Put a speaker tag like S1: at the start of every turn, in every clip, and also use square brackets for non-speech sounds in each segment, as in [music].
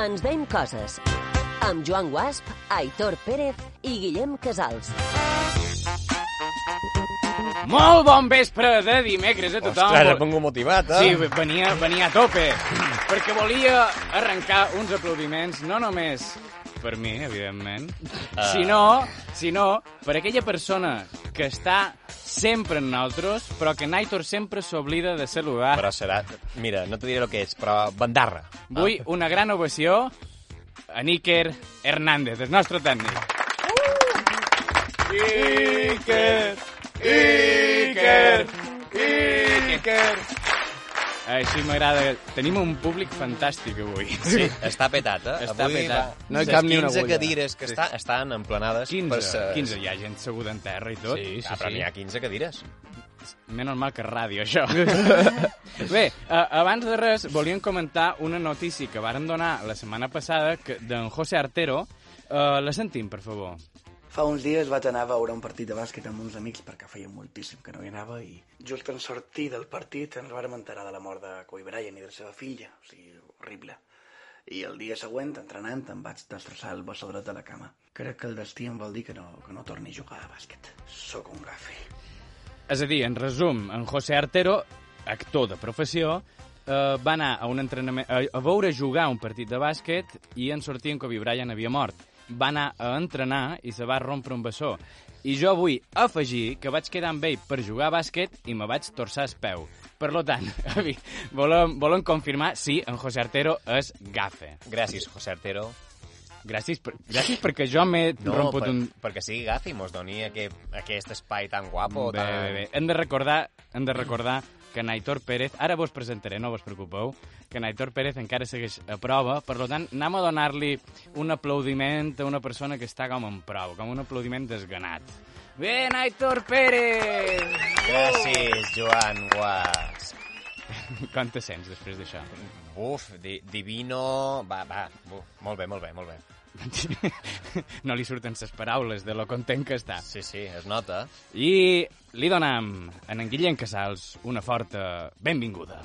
S1: Ens veiem coses. Amb Joan Guasp, Aitor Pérez i Guillem Casals.
S2: Molt bon vespre de dimecres a tothom.
S3: Ostres, em pongo motivat, eh?
S2: Sí, venia, venia a tope, perquè volia arrencar uns aplaudiments no només per mi, evidentment,
S3: Ah.
S2: sinó, sinó per aquella persona que està sempre en nosaltres, però que Naitor sempre s'oblida de saludar.
S3: Però serà... Mira, no te diré el que és, però bandarra. Ah.
S2: Vull una gran ovació a Níker Hernández, el nostre tècnic. Iker, Iker, Iker. Així Eh, m'agrada. Tenim un públic fantàstic avui.
S3: Sí, està petat, eh?
S2: Està
S3: Avui
S2: petat.
S3: va-
S4: No hi
S3: les
S4: cap ni una
S3: 15
S4: agulla.
S3: cadires que està, estan emplenades
S2: 15,
S3: per ser...
S2: 15 hi ha gent seguda en terra i tot.
S3: Sí, sí, ah, però n'hi ha 15 cadires.
S2: Menys mal que és ràdio, [laughs] això. Bé, eh, abans de res, volíem comentar una notícia que varen donar la setmana passada que d'en José Artero. Eh, la sentim, per favor.
S5: Fa uns dies vaig anar a veure un partit de bàsquet amb uns amics perquè feia moltíssim que no hi anava i just en sortir del partit ens vàrem enterar de la mort de Kobe Bryant i de la seva filla, o sigui, horrible. I el dia següent, entrenant, em vaig destrossar el bessó dret de la cama. Crec que el destí em vol dir que no, que no torni a jugar a bàsquet. Sóc un gafe.
S2: És a dir, en resum, en José Artero, actor de professió, eh, va anar a, un entrenament, a, a veure jugar un partit de bàsquet i en sortir en Kobe Bryant havia mort. Va anar a entrenar i se va rompre un bessó. I jo vull afegir que vaig quedar amb ell per jugar a bàsquet i me vaig torçar el peu. Per lo tant, [laughs] Avi, volem, volem confirmar si en José Artero és gafe.
S3: Gràcies, José Artero.
S2: Gràcies, per, gràcies
S3: [laughs]
S2: perquè jo m'he
S3: No,
S2: romput
S3: per,
S2: un...
S3: perquè sigui gafi i mos doni aquest, aquest espai tan guapo.
S2: Mm, Bé,
S3: tan...
S2: bé, bé. Hem de recordar, hem de recordar que Naitor Pérez, ara vos presentaré, no vos preocupeu, que Naitor Pérez encara segueix a prova, per lo tant, anem a donar-li un aplaudiment a una persona que està com en prou, com un aplaudiment desganat. Bé, Naitor Pérez!
S3: Gràcies, Joan Guas.
S2: [laughs] Com te sents després d'això?
S3: Buf, di, divino... Va, va, buf. Molt bé, molt bé, molt bé.
S2: [laughs] No li surten ses paraules de lo content que està.
S3: Sí, sí, es nota.
S2: I li donam, a en Guillem Casals, una forta benvinguda.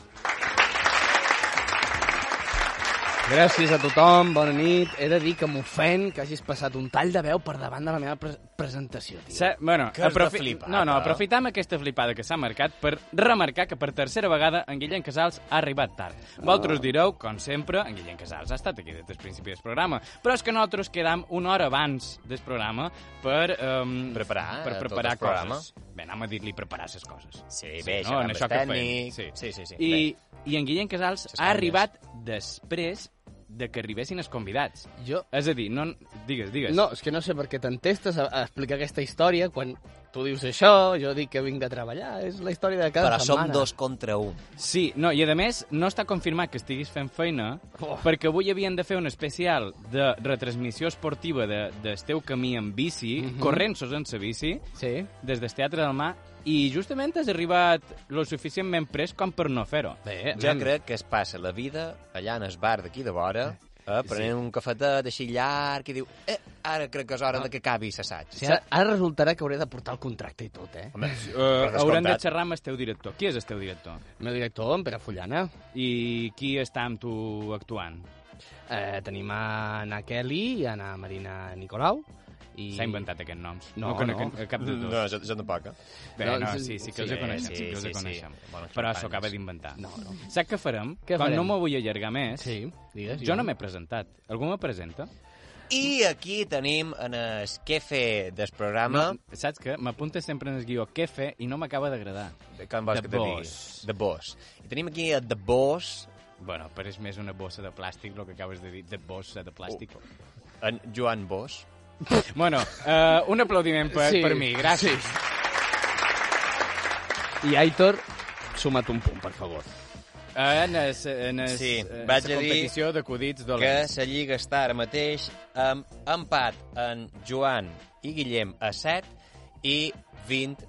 S4: Gràcies a tothom, bona nit. He de dir que m'ofèn que hagis passat un tall de veu per davant de la meva pre presentació, tio.
S2: Sa, Eh, bueno,
S3: Que has de
S2: aprofi...
S3: flipar,
S2: no, no,
S3: eh?
S2: aprofitam aquesta flipada que s'ha marcat per remarcar que per tercera vegada en Guillem Casals ha arribat tard.
S3: Ah.
S2: Vosaltres direu, com sempre, en Guillem Casals ha estat aquí des del principi del programa, però és que nosaltres quedam una hora abans del programa per... Um,
S3: Preparar,
S2: per
S3: eh,
S2: preparar
S3: tot el
S2: coses. Bé, anem a dir-li preparar ses coses.
S3: Sí, bé, això amb el
S2: que
S3: tècnic.
S2: fem.
S3: Sí, sí, sí,
S2: I, I en Guillem Casals
S3: Ses
S2: ha
S3: canyes.
S2: arribat després de que arribessin els convidats.
S4: Jo...
S2: És a dir, no... Digues, digues.
S4: No, és que no sé per què t'entestes a, a explicar aquesta història quan tu dius això, jo dic que vinc a treballar, és la història de cada
S3: Però som
S4: setmana.
S3: dos contra un.
S2: Sí, no, i a més no està confirmat que estiguis fent feina
S4: Oh.
S2: perquè avui havien de fer un especial de retransmissió esportiva de, del teu camí en bici, mm -hmm.
S4: Mhm.
S2: corrent-sos en sa bici,
S4: Sí.
S2: des del Teatre del Mar, i justament has arribat lo suficientment pres com per no fer-ho.
S4: Bé,
S3: Jo crec que es passa la vida allà en el bar d'aquí de vora, eh, prenent sí. un cafetet així llarg i diu eh, ara crec que és hora de que acabi l'assaig.
S4: Sí, ara, ara resultarà que hauré de portar el contracte i tot, eh?
S3: Home,
S2: Uh,
S3: per
S2: haurem de
S3: descomptat.
S2: xerrar amb el teu director. Qui és el teu director?
S4: El meu director, en Pere Fullana.
S2: I qui està amb tu actuant?
S4: Eh, tenim a Ana Kelly i a Ana Marina Nicolau. I...
S2: S'ha inventat aquests noms.
S4: No,
S2: no conec
S4: no.
S2: a cap dels dos.
S3: No, jo, jo tampoc. Eh?
S2: Bé,
S4: No,
S2: no,
S4: sí,
S2: sí, sí que els
S4: sí,
S2: sí, coneixem, sí, que els
S3: sí, sí.
S2: sí, coneixem.
S3: Bones
S2: Però s'ho
S3: campanyes.
S2: acaba d'inventar.
S4: No, no.
S2: Saps què farem?
S4: Què
S2: Com
S4: farem?
S2: no m'ho vull allargar més,
S4: Sí, digues.
S2: jo no m'he presentat. Algú me presenta?
S3: I aquí tenim en el quefe del programa... No.
S2: Saps què? M'apunta sempre en el guió què fer i no m'acaba d'agradar.
S3: Com vols
S2: The
S3: que te digui?
S2: Boss.
S3: The Boss. I tenim aquí a The Boss,
S2: Bueno, però és més una bossa de plàstic, el que acabes de dir, de bossa de plàstic. Oh.
S3: en Joan Bosch.
S2: Bueno, uh, un aplaudiment per,
S4: Sí,
S2: sí. per mi, gràcies. Sí.
S4: I Aitor, suma't un punt, per favor.
S2: Eh, En, es, en es,
S3: Sí,
S2: eh,
S3: vaig a
S2: sa
S3: dir
S2: competició d'acudits
S3: que
S2: dolents.
S3: la Lliga està ara mateix amb empat en Joan i Guillem a 7 i 20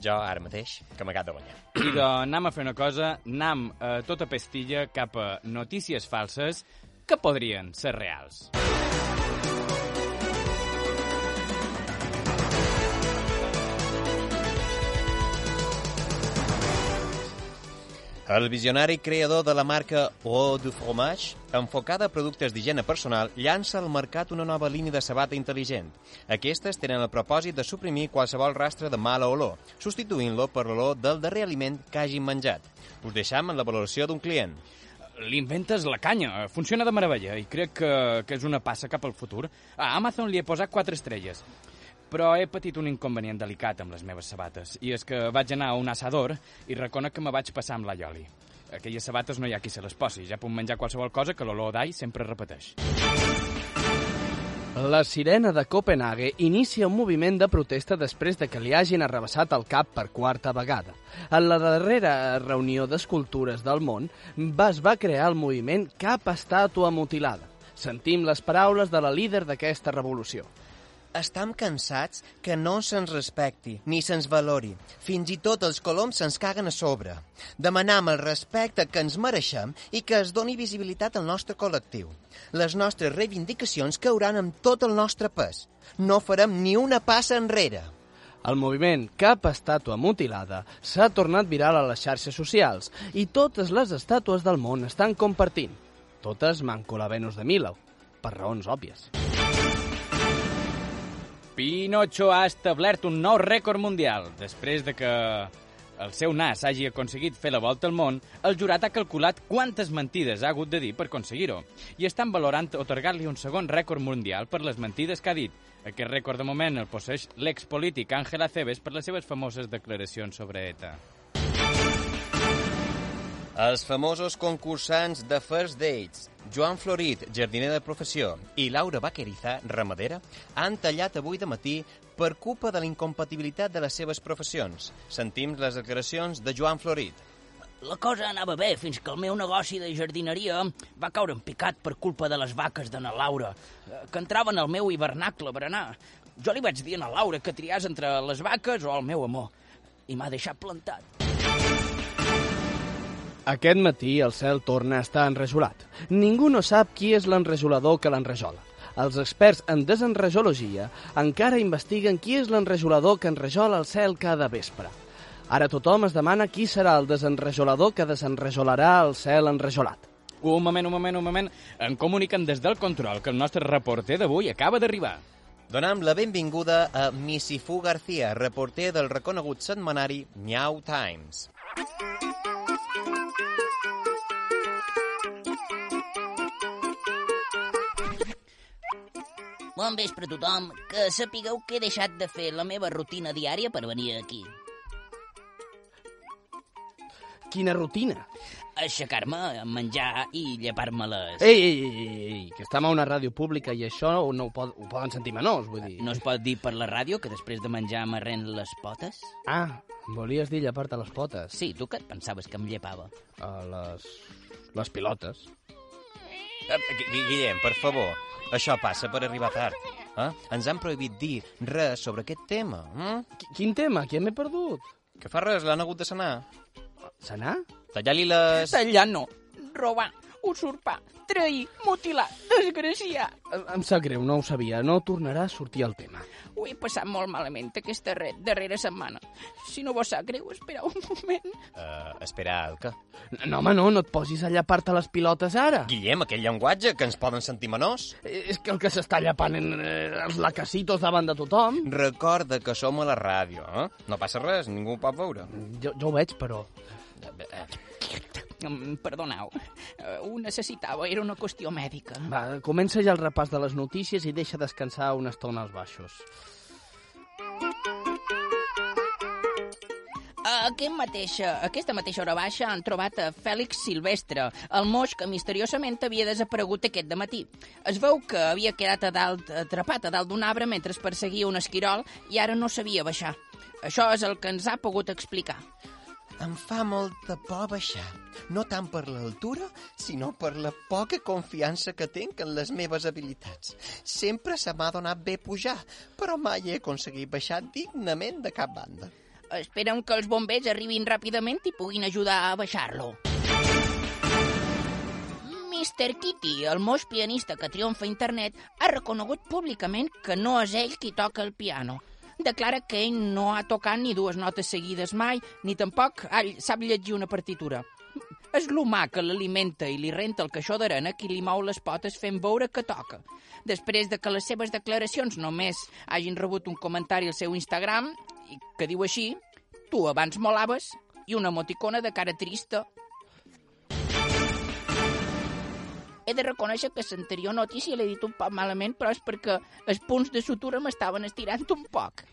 S3: jo ara mateix, que m'acabo de guanyar.
S2: I doncs anem a fer una cosa, anem a tota pestilla cap a notícies falses que podrien ser reals.
S3: El visionari creador de la marca O du Fromage, enfocada a productes d'higiene personal, llança al mercat una nova línia de sabata intel·ligent. Aquestes tenen el propòsit de suprimir qualsevol rastre de mala olor, substituint-lo per l'olor del darrer aliment que hagin menjat. Us deixam en la valoració d'un client.
S2: Li inventes la canya, eh, funciona de meravella i crec que, que és una passa cap al futur. A Amazon li he posat 4 estrelles. Però he patit un inconvenient delicat amb les meves sabates, i és que vaig anar a un assador i reconec que me vaig passar amb l'aioli. Aquelles sabates no hi ha qui se les posi, ja puc menjar qualsevol cosa que l'olor d'all sempre repeteix.
S4: La sirena de Copenhague inicia un moviment de protesta després de que li hagin arrabassat el cap per quarta vegada. En la darrera reunió d'escultures del món va- es va crear el moviment Cap estàtua mutilada. Sentim les paraules de la líder d'aquesta revolució.
S6: Estam cansats que no se'ns respecti ni se'ns valori. Fins i tot els coloms se'ns caguen a sobre. Demanam el respecte que ens mereixem i que es doni visibilitat al nostre col·lectiu. Les nostres reivindicacions cauran amb tot el nostre pes. No farem ni una passa enrere.
S4: El moviment Cap estàtua mutilada s'ha tornat viral a les xarxes socials i totes les estàtues del món estan compartint. Totes manco la Venus de Milo, per raons òbvies.
S2: Pinocho ha establert un nou rècord mundial. Després de que el seu nas hagi aconseguit fer la volta al món, el jurat ha calculat quantes mentides ha hagut de dir per aconseguir-ho i estan valorant otorgar-li un segon rècord mundial per les mentides que ha dit. Aquest rècord de moment el posseix l'expolític Ángela Cebes per les seves famoses declaracions sobre E ETA.
S3: Els famosos concursants de First Dates, Joan Florit, jardiner de professió, i Laura Baqueriza, ramadera, han tallat avui de matí per culpa de la incompatibilitat de les seves professions. Sentim les declaracions de Joan Florit.
S7: La cosa anava bé fins que el meu negoci de jardineria va caure en picat per culpa de les vaques de na Laura, eh, que entraven al meu hivernacle a berenar. Jo li vaig dir a na Laura que triàs entre les vaques o el meu amor, i m'ha deixat plantat.
S4: Aquest matí el cel torna a estar enrejolat. Ningú no sap qui és l'enrejolador que l'enrejola. Els experts en desenrejologia encara investiguen qui és l'enrejolador que enrejola el cel cada vespre. Ara tothom es demana qui serà el desenrejolador que desenrejolarà el cel enrejolat.
S2: Un moment, un moment, un moment. En comuniquen des del control que el nostre reporter d'avui acaba d'arribar.
S3: Donam la benvinguda a Missifú García, reporter del reconegut setmanari Miau Times.
S8: Bon vespre a tothom, que sapigueu que he deixat de fer la meva rutina diària per venir aquí.
S4: Quina rutina!
S8: Aixecar-me, menjar i llepar-me-les.
S4: Ei, ei, ei, ei, ei, que estem a una ràdio pública i això no ho, pod ho poden sentir menors, vull dir...
S8: No es pot dir per la ràdio que després de menjar m'arren les potes?
S4: Ah, volies dir llepar-te les potes.
S8: Sí, tu que et pensaves que em llepava?
S4: A les... les pilotes.
S3: Eh, Gui- Gui- Guillem, per favor, això passa per arribar tard. Eh? Ens han prohibit dir res sobre aquest tema. Mm?
S4: Qui- Quin tema? Qui m'he perdut?
S3: Que fa res, l'han hagut de sanar.
S4: Senar?
S3: Tallar-li les...
S7: Tallar no, robar, usurpar, trair, mutilar, desgraciar.
S4: Em em sap greu, no ho sabia. No tornarà a sortir el tema.
S7: Ho he passat molt malament aquesta re- darrera setmana. Si no vos sap greu, espera un moment.
S3: Uh, espera, el què?
S4: No, home, no, no et posis a llepar-te les pilotes ara.
S3: Guillem, aquell llenguatge que ens poden sentir menors.
S4: Eh, És que el que s'està llepant en, eh, els lacacitos davant de tothom...
S3: Recorda que som a la ràdio, eh? No passa res, ningú ho pot veure.
S4: Jo, jo ho veig, però...
S7: Mm, Perdoneu, eh, ho necessitava, era una qüestió mèdica.
S4: Va, eh, comença ja el repàs de les notícies i deixa descansar una estona als baixos.
S7: A aquest mateixa, aquesta mateixa hora baixa han trobat a Fèlix Silvestre, el moix que misteriosament havia desaparegut aquest matí. Es veu que havia quedat a dalt, atrapat a dalt d'un arbre mentre perseguia un esquirol i ara no sabia baixar. Això és el que ens ha pogut explicar.
S6: Em fa molta por baixar, no tant per l'altura, sinó per la poca confiança que tinc en les meves habilitats. Sempre se m'ha donat bé pujar, però mai he aconseguit baixar dignament de cap banda.
S7: Esperen que els bombers arribin ràpidament i puguin ajudar a baixar-lo. Mr. Kitty, el moix pianista que triomfa a internet, ha reconegut públicament que no és ell qui toca el piano. Declara que ell no ha tocat ni dues notes seguides mai, ni tampoc ha- sap llegir una partitura. És l'humà que l'alimenta i li renta el caixó d'arena qui li mou les potes fent veure que toca. Després de que les seves declaracions només hagin rebut un comentari al seu Instagram i que diu així «Tu abans molaves» i una emoticona de cara trista. He de reconèixer que l'anterior notícia l'he dit un poc malament, però és perquè els punts de sutura m'estaven estirant un poc.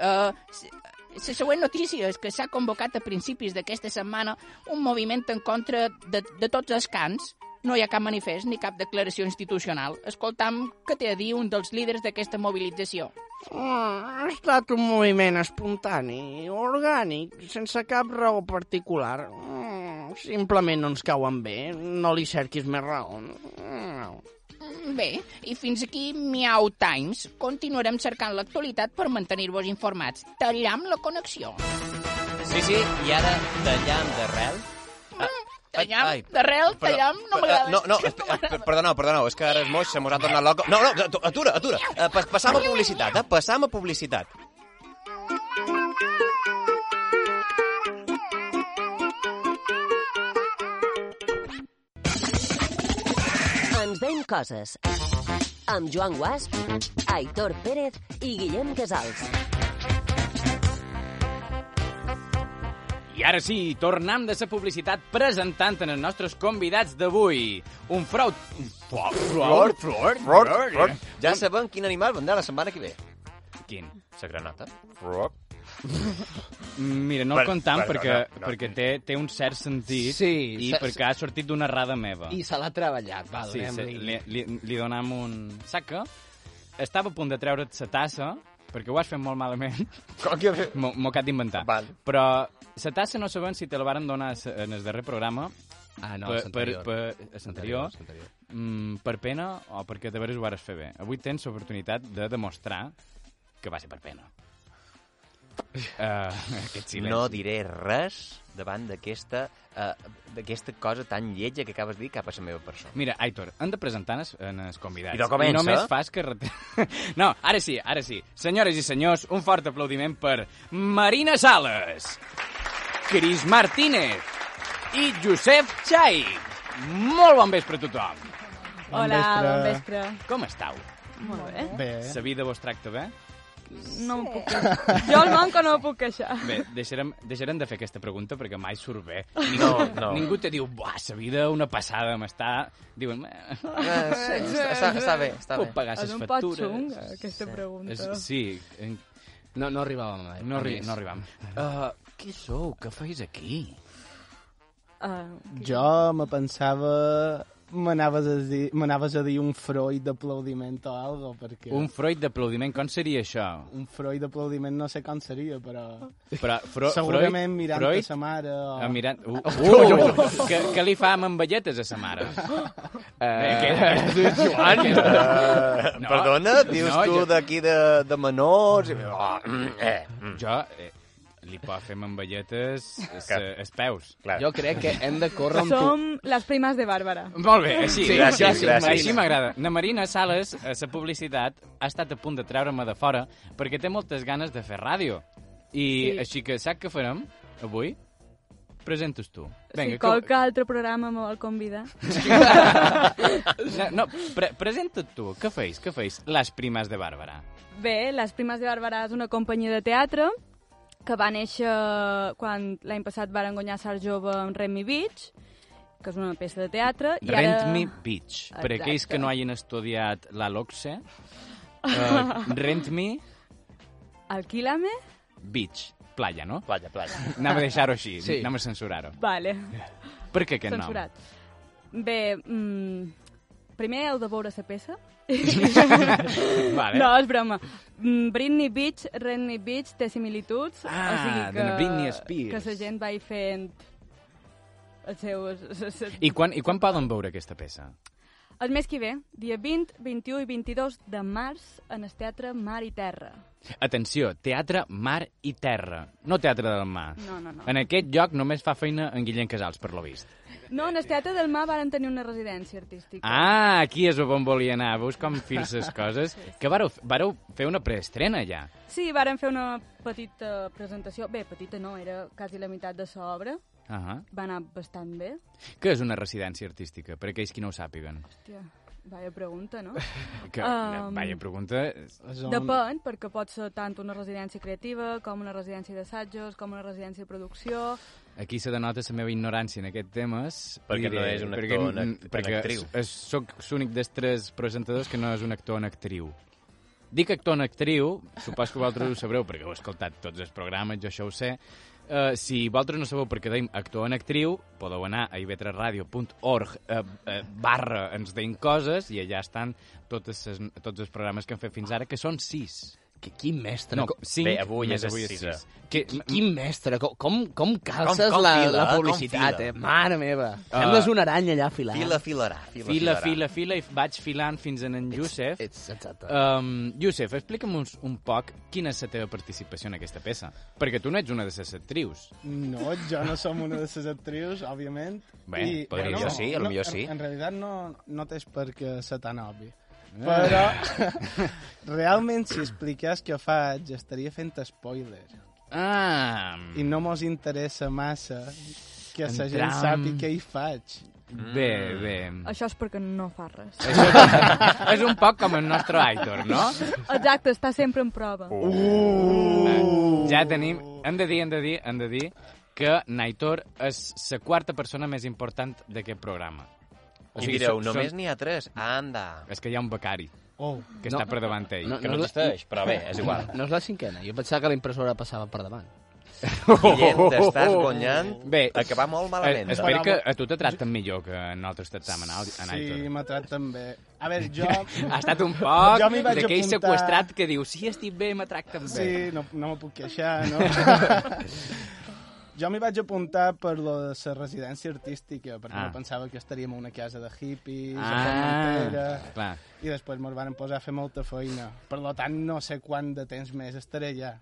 S7: Uh, la següent notícia és que s'ha convocat a principis d'aquesta setmana un moviment en contra de, de tots els cants. No hi ha cap manifest ni cap declaració institucional. Escoltam què té a dir un dels líders d'aquesta mobilització.
S9: Ah, Ha estat un moviment espontani, orgànic, sense cap raó particular. Mm, Simplement no ens cauen bé, no li cerquis més raó. Mm.
S7: Mm, Bé, i fins aquí Miau Times. Continuarem cercant l'actualitat per mantenir-vos informats. Tallam la connexió.
S3: Sí, sí, i ara tallant d'arrel. Ah, ai,
S7: Tallam,
S3: ai,
S7: d'arrel,
S3: perdó,
S7: tallam, no
S3: eh,
S7: m'agrada.
S3: No, no, esp- eh, perdoneu, perdoneu, és que ara es moix, se mos ha tornat loco. No, no, atu- atura, atura. Eh, pas- Passam a publicitat, eh? Passam a publicitat.
S1: Ens veiem coses. Amb Joan Guasp, Aitor Pérez i Guillem Casals.
S2: I ara sí, tornam de la publicitat presentant en els nostres convidats d'avui. Un fraud... un Flor, Oh, flor, flor, eh.
S3: Ror, ror. Ja sabem quin animal vendrà la setmana que ve.
S2: Quin?
S3: La granota. [laughs] Ror.
S2: Mira, no el
S3: Bueno,
S2: contam
S3: bueno,
S2: perquè,
S3: no, no.
S2: perquè té, té un cert sentit
S4: Sí,
S2: i
S4: se-
S2: perquè ha sortit d'una errada meva.
S4: I se l'ha treballat, va,
S2: Sí, se,
S4: donem-li.
S2: li, li, li donam un... Saca, estava a punt de treure't la tassa, perquè ho has fet molt malament,
S3: Com que... ve-
S2: m'ho m'ho cap d'inventar.
S3: Val.
S2: Però la tassa no sabem si te la varen donar a- en el darrer programa,
S4: Ah, no,
S2: per, per,
S4: l'anterior.
S2: per, a l'anterior,
S4: L'anterior.
S2: mm, per pena o perquè de veres ho vares fer bé. Avui tens l'oportunitat de demostrar que va ser per
S3: [laughs]
S2: pena. Uh, aquest silenci.
S3: No diré res davant d'aquesta eh, d'aquesta cosa tan lletja que acabes de dir cap a la meva persona.
S2: Mira, Aitor, hem de presentar en els, en els convidats.
S3: I no comença.
S2: només fas que... rete- [laughs] no, ara sí, ara sí. Senyores i senyors, un fort aplaudiment per Marina Sales, Cris Martínez i Josep Xai. Molt bon vespre a tothom.
S10: Hola, bon vespre.
S2: Com estàu?
S10: Molt bé.
S9: Bé.
S2: La vida vos tracta bé?
S10: No em puc queixar. Jo el manco no em puc queixar.
S2: Bé, deixarem, deixarem de fer aquesta pregunta perquè mai surt bé.
S3: No, no.
S2: Ningú te diu, buah, la vida una passada m'està... Diuen, "Eh,
S6: Eh, sí, està, està, està bé, està bé.
S2: puc pagar
S10: És
S2: les
S10: un pot xung,
S2: factures.
S10: aquesta pregunta.
S2: És- Sí, en-
S4: No, no arribàvem mai.
S2: No, arri
S4: Més.
S2: no arribam. Uh, què sou? Què feis aquí?
S10: Ah,
S11: Jo me pensava... M'anaves a, dir, m'anaves a dir un Freud d'aplaudiment o algo, perquè...
S2: Un Freud d'aplaudiment, com seria això?
S11: un Freud d'aplaudiment no sé com seria, però...
S2: Però, Fro
S11: Segurament mirant
S2: Freud,
S11: a sa mare o...
S2: Ah,
S11: [laughs]
S2: mirant... Uh, uh, que, que li fa amb velletes a sa mare? Eh,
S3: Eh,
S2: [laughs] Uh, Joan!
S3: Uh,
S2: No.
S3: eh, Perdona, dius
S2: No,
S3: no, tu
S2: jo-
S3: jo... d'aquí de, de menors... i- Oh, mm, eh, mm.
S2: Jo Ah, eh, li puc fer amb velletes els
S3: Clar.
S2: els peus.
S3: Clar.
S4: Jo crec que hem de córrer amb tu.
S10: som les primes de Bàrbara.
S2: Molt bé, així.
S4: Sí,
S3: gràcies, gràcies.
S2: Així m'agrada. Na Marina Sales, a sa publicitat, ha estat a punt de treure-me de fora perquè té moltes ganes de fer ràdio. I
S10: Sí.
S2: així que sap què farem avui? Presentes tu.
S10: Vinga, si
S2: que-
S10: qualque altre programa me vol convidar.
S2: No, no pre presenta't tu. Què feis? Què feis? Les primes de Bàrbara.
S10: [laughs] Bé, Les Primes de Bàrbara és una companyia de teatre que va néixer quan l'any passat van guanyar Sart Jove amb Remy Beach, que és una peça de teatre. i ara-
S2: Rent Me Beach. Per
S10: Exacte.
S2: aquells que no hagin estudiat la LOCSE,
S10: [laughs]
S2: uh, Rent Me
S10: Alquílame?
S2: Beach. Playa, no?
S3: Playa, playa.
S2: Anem a deixar-ho així,
S4: Sí.
S2: sí. anem a censurar-ho.
S10: Vale,
S2: Per què aquest
S10: censurat. Bé, mm, primer heu de veure la peça.
S2: nom? [laughs] Vale.
S10: No, és broma. Mm, Britney Beach, Renny Beach té similituds.
S2: Ah,
S10: o sigui que,
S2: de la Britney Spears.
S10: Que la gent va hi fent els seus... s- s-
S2: I quan, I quan poden veure aquesta peça?
S10: El mes que ve, dia 20, 21 i 22 de març, en el Teatre Mar i Terra.
S2: Atenció, teatre, mar i terra. No teatre del mar.
S10: No, no, no.
S2: En aquest lloc només fa feina en Guillem Casals, per lo vist.
S10: No, en el Teatre del Mar varen tenir una residència artística.
S2: Ah, aquí és on volia anar. Veus com
S10: [laughs]
S2: filces coses? Que vareu, vareu fer una preestrena ja.
S10: Sí, varen fer una petita presentació. Bé, petita no, era quasi la meitat de l'obra.
S2: Ahà.
S10: Va anar bastant bé.
S2: Què és una residència artística, per aquells qui no ho sàpiguen?
S10: Hòstia, vaya pregunta, no?
S2: [laughs] Que, um, vaya pregunta...
S10: Depèn, perquè pot ser tant una residència creativa, com una residència d'assajos, com una residència de producció...
S2: Aquí se denota la meva ignorància en aquest temes.
S3: Perquè no és un actor o una act-
S2: perquè
S3: una actriu.
S2: s- és- Soc l'únic dels tres presentadors que no és un actor o una actriu. Dic actor o una actriu, supos que vosaltres ho sabreu, perquè heu escoltat tots els programes, jo això ho sé. Uh, si vosaltres no sabeu per què deim actor o una actriu, podeu anar a ivetresradio.org uh, uh, barra ens deim coses i allà estan totes ses, tots els programes que hem fet fins ara, que són sis.
S4: Que, quin mestre!
S2: No,
S4: Co-
S2: cinc,
S4: Bé, avui
S2: més
S4: és
S2: avui és
S4: sisè.
S2: sis. Que,
S4: Quin mestre! Com, com, com calces
S2: Com- com
S4: la,
S2: fila,
S4: la
S2: eh? Com
S4: publicitat,
S2: fila.
S4: eh? Mare meva!
S2: Ah.
S4: Sembles una aranya allà filant.
S2: Fila, fila, fila, fila, i vaig filant fins en en Youssef.
S4: Ets, exacte.
S2: Um, Youssef, explica'm un, un poc quina és la teva participació en aquesta peça. Perquè tu no ets una de les actrius.
S11: No, jo no som una de les actrius, òbviament.
S2: Bé, podria
S11: bueno,
S2: ser. Jo sí, a lo
S11: no,
S2: millor
S11: en-
S2: sí.
S11: En, realitat no, no té per què ser tan obvi.
S2: Eh. [laughs]
S11: Però realment, si expliqués què faig, estaria fent spoiler.
S2: Ah!
S11: I no mos interessa massa que la gent
S2: Entram.
S11: sàpiga què hi faig.
S2: Bé, bé.
S10: Això és perquè no fa res.
S2: Mm. Això és un poc com el nostre Aitor, no?
S10: Exacte, està sempre en prova.
S2: Uh. Ja tenim... Hem de dir, hem de dir, hem de dir que Naitor és la quarta persona més important d'aquest programa.
S3: I direu, només
S2: són-
S3: n'hi ha tres? Anda!
S2: És que hi ha un becari
S11: oh.
S2: que està per davant ell, que no
S4: és la-
S2: existeix, però bé, és igual.
S4: [laughs] No és la cinquena. Jo pensava que la impressora passava per
S2: [laughs]
S4: davant. [laughs]
S3: Guillem, t'estàs guanyant
S2: Bé,
S3: a que va molt malament.
S2: Eh, espero
S11: Però-
S2: que a tu te tracten millor que a nosaltres te tractem en, Al- en
S11: Sí,
S2: Aitor.
S11: m'ha tractat també. A
S2: [laughs]
S11: veure, jo...
S2: Ha estat un poc
S11: Jo m'hi vaig
S2: d'aquell
S11: apuntar.
S2: sequestrat que diu sí, estic bé, me tracten bé.
S11: Sí, no, no me puc queixar,
S4: [laughs]
S11: no? jo m'hi vaig apuntar per la de la residència artística, perquè
S2: Ah.
S11: ah. no pensava que estaríem a una casa de hippies,
S2: Ah,
S11: a Formentera,
S2: clar.
S11: i després ens van posar a fer molta feina. Per lo tant, no sé quant de temps més estaré allà.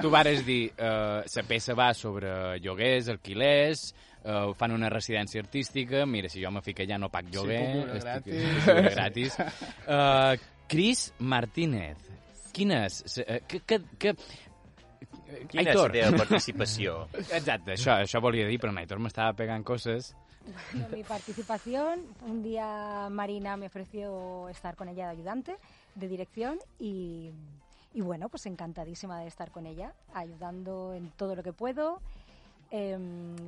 S2: tu vares dir, eh, la peça va sobre lloguers, alquilers, eh, fan una residència artística, mira, si jo me fico allà no pac lloguer,
S11: puc viure
S2: [laughs]
S11: gratis.
S2: puc viure gratis. Eh, Cris Martínez, quina és... se- eh, Que, que, que...
S3: Quina és la
S2: [laughs]
S3: teva participació?
S2: Exacte, això, això volia dir, però Naitor m'estava pegant coses.
S12: Bueno, mi participación, un día Marina me ofreció estar con ella de ayudante, de dirección, y, y bueno, pues encantadísima de estar con ella, ayudando en todo lo que puedo, eh,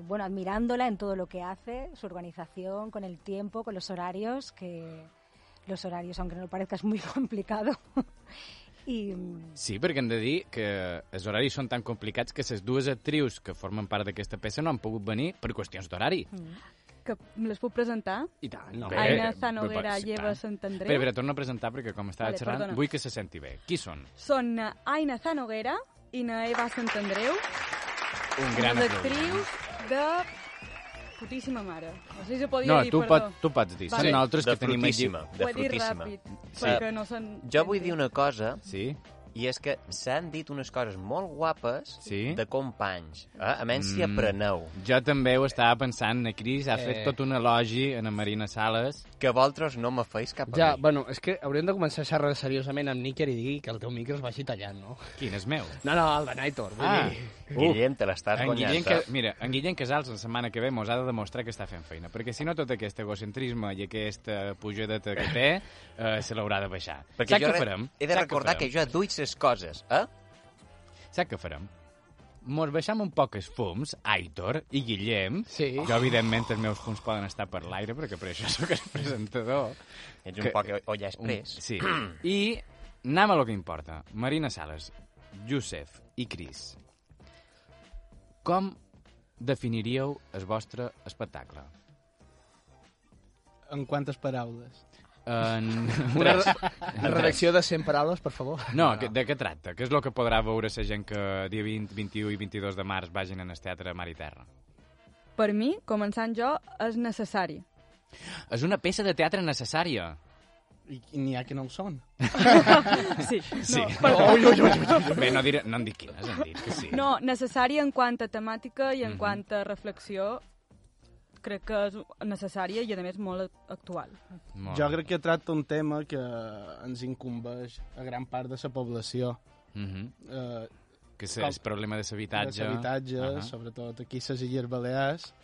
S12: bueno, admirándola en todo lo que hace, su organización, con el tiempo, con los horarios, que los horarios, aunque no lo parezca, es muy [laughs] complicado. y mm,
S2: Sí, perquè hem de dir que els horaris són tan complicats que les dues actrius que formen part d'aquesta peça no han pogut venir per qüestions d'horari.
S10: Mm. Que les puc presentar?
S4: I tant, no.
S2: Bé,
S10: Aina
S2: eh,
S10: Zanoguera
S2: pots,
S10: Lleva
S2: tant.
S10: Sant Andreu.
S2: Espera, espera, torna a presentar perquè com estava
S10: Vale,
S2: xerrant
S10: perdona.
S2: vull que se senti bé. Qui són?
S10: Són eh, Aina Zanoguera i Naeva Sant Andreu,
S2: Un gran
S10: les
S2: aplaudiment.
S10: actrius de putíssima mare. No sé si ho podia
S2: No,
S10: dir,
S2: tu,
S10: perdó.
S2: pot, tu pots dir.
S10: Vale.
S2: Són nosaltres
S3: De
S2: que tenim aquí.
S3: frutíssima,
S10: Ho he dit ràpid,
S3: Sí.
S10: perquè no se'n...
S3: Jo vull dir una cosa.
S2: Sí?
S3: I és que s'han dit unes coses molt guapes
S2: Sí?
S3: de companys. Eh? A menys si
S2: Mm.
S3: apreneu.
S2: Jo també ho estava pensant, na Cris ha fet
S4: Eh.
S2: tot un elogi a na Marina Sales.
S3: Que vosaltres no me feis cap
S4: Ja, bueno, és que hauríem de començar a xerrar seriosament amb Níker i dir que el teu micro es vagi tallant, no?
S2: Quin és meu?
S4: No, no, el de Naitor, vull
S2: Ah.
S4: dir...
S3: Guillem, te l'estàs
S2: En
S3: guanyant.
S2: Guillem, que,
S3: eh?
S2: mira, en Guillem Casals la setmana que ve mos ha de demostrar que està fent feina, perquè si no tot aquest egocentrisme i aquesta pujadeta que té eh, se l'haurà de baixar.
S3: Perquè
S2: Saps
S3: jo
S2: què
S3: re-
S2: farem?
S3: he de
S2: Saps què
S3: recordar que
S2: farem?
S3: jo duig les coses, eh?
S2: Saps què farem? Mos baixam un poc els fums, Aitor i Guillem.
S4: Sí.
S2: Jo, evidentment, els meus fums poden estar per l'aire, perquè per això sóc el presentador.
S3: Ets un poc olla express.
S2: Un- Sí. I anem a lo que importa. Marina Sales, Josep i Cris. Com definiríeu el vostre espectacle?
S11: En quantes paraules?
S2: En...
S4: Una
S2: Tres.
S4: re-
S2: En tres.
S4: redacció de 100 paraules, per favor.
S2: No, que- de què tracta? Què és el que podrà veure la gent que dia 20, 21 i 22 de març vagin en el Teatre Mar i Terra?
S10: Per mi, començant jo, és necessari.
S2: És una peça de teatre necessària.
S11: I i n'hi ha que no ho
S2: [laughs]
S11: són.
S10: [laughs] Sí.
S2: Sí.
S10: No, perdó. [laughs]
S2: Bé, no, diré, no en dic quines, en dic que sí.
S10: No, necessari en quant a temàtica i en
S2: Mhm.
S10: quant a reflexió crec que és necessària i, a més, molt actual.
S2: Molt
S11: Jo
S2: bé.
S11: crec que tracta un tema que ens incumbeix a gran part de la població.
S2: Mhm.
S11: eh,
S2: Que és el problema de l'habitatge.
S11: Habitatge,
S2: Ah, ah.
S11: sobretot aquí a les Illes Balears,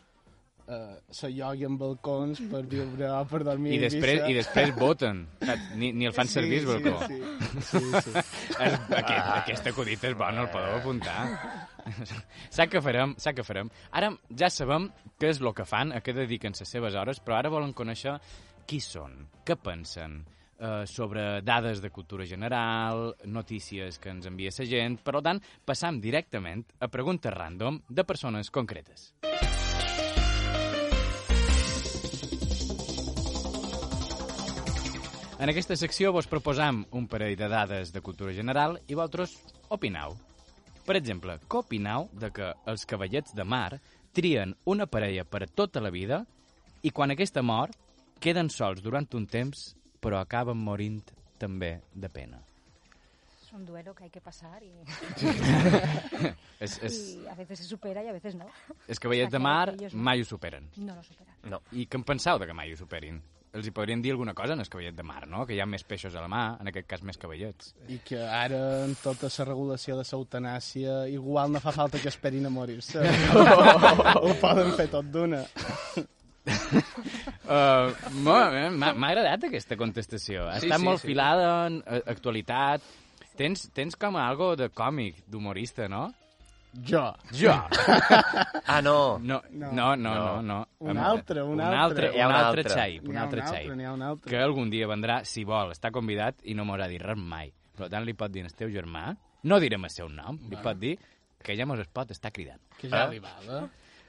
S11: eh, se llogui amb balcons per viure o per dormir
S2: I
S11: a
S2: després,
S11: Eivissa.
S2: I després voten. Saps? Ni, ni el fan
S11: Sí,
S2: servir, el
S11: sí,
S2: balcó.
S11: sí.
S2: [laughs]
S11: Sí, Ah, sí.
S2: Es- Aquest, aquest acudit és bon, el podeu apuntar. Sap que farem, sap que farem. Ara ja sabem què és el que fan, a què dediquen les seves hores, però ara volen conèixer qui són, què pensen, eh, sobre dades de cultura general, notícies que ens envia la gent, per tant, passam directament a preguntes random de persones concretes. En aquesta secció vos proposam un parell de dades de cultura general i vosaltres opinau. Per exemple, què opinau de que els cavallets de mar trien una parella per a tota la vida i quan aquesta mor queden sols durant un temps però acaben morint també de pena.
S12: Es un duelo que hay que pasar [laughs] y,
S2: Es- es-
S12: y a veces se supera y a veces no.
S2: Els cavallets de
S12: Aquello
S2: mar
S12: que ellos no-
S2: mai ho superen.
S12: No lo superan.
S2: No. I què en penseu de que mai ho superin? Els hi podrien dir alguna cosa en el cavallet de mar, no? Que hi ha més peixos a la mà, en aquest cas més cavallets.
S11: I que ara, en tota la regulació de l'eutanàsia, igual no fa falta que esperin a
S2: [laughs]
S11: morir-se. Ho poden fer tot d'una.
S2: Uh,
S11: Eh,
S2: M'ha m'ha agradat aquesta contestació. Ha
S11: Sí,
S2: estat
S11: sí,
S2: molt
S11: sí.
S2: filada en eh, actualitat. Tens, tens com a algo de còmic, d'humorista, no?
S11: Jo. [laughs]
S2: Jo.
S3: ah, no.
S2: No, no, no. no, no.
S11: Un altre, un
S2: un
S11: altre.
S2: altre.
S11: Hi ha
S2: Un
S11: un
S2: altre
S11: altre.
S2: xai.
S11: N'hi
S2: Un
S11: ha
S2: altre
S11: un
S2: xai.
S11: altre, n'hi ha un altre.
S2: Que algun dia vendrà, si vol, està convidat i no m'haurà dit res mai. Per tant, li pot dir al teu germà, no direm el seu nom, li
S11: Bueno.
S2: pot dir que ja mos es pot estar cridant.
S11: Que ja
S2: Eh?
S11: arribava.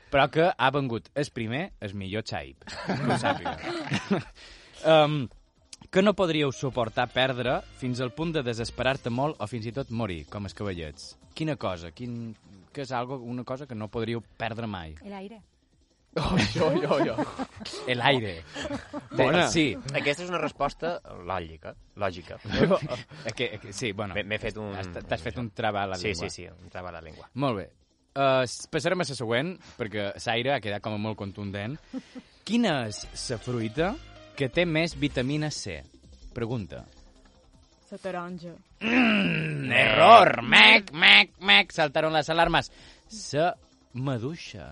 S2: però que ha vengut el primer, el millor xaip. Que ho
S3: [laughs]
S2: sàpiga. um, que no podríeu suportar perdre fins al punt de desesperar-te molt o fins i tot morir, com els cavallets. Quina cosa, quin... que és algo, una cosa que no podríeu perdre mai.
S12: El aire.
S2: Oh, jo, jo, jo. El aire.
S3: Bona.
S2: Sí.
S3: Aquesta és una resposta lògica.
S2: [laughs]
S3: Lògica.
S2: que, que, sí, bueno.
S3: M'he fet un...
S2: Has- T'has fet un traba a la
S3: sí, Sí,
S2: llengua.
S3: sí, sí, un traba a la llengua.
S2: Molt bé. Uh, passarem a la següent, perquè l'aire ha quedat com a molt contundent. Quina és la fruita que té més vitamina C? Pregunta.
S10: La taronja.
S2: Mm, error! Mec, mec, mec! Saltaron les alarmes. La maduixa.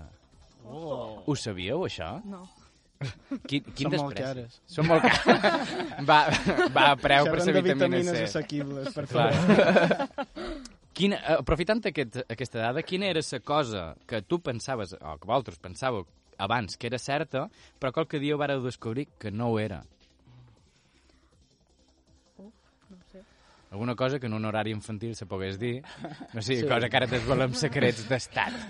S10: Oh.
S2: Ho sabíeu, això?
S10: No.
S2: Qui, quin
S11: Són molt
S2: despreci.
S11: cares.
S2: Són molt
S11: [laughs]
S2: cares. Va, va a preu per
S11: Xerrem
S2: la
S11: de
S2: vitamina C.
S11: vitamines assequibles, per
S2: Clar. [laughs]
S11: favor.
S2: Quina, eh, aprofitant aquest, aquesta dada, quina era la cosa que tu pensaves, o que vosaltres pensàveu abans que era certa, però qualque dia ho vareu descobrir que no ho era?
S10: No sé.
S2: Alguna cosa que en un horari infantil se pogués dir. No sé,
S11: Sí.
S2: sí. cosa que ara desvelem secrets d'estat.
S11: [laughs]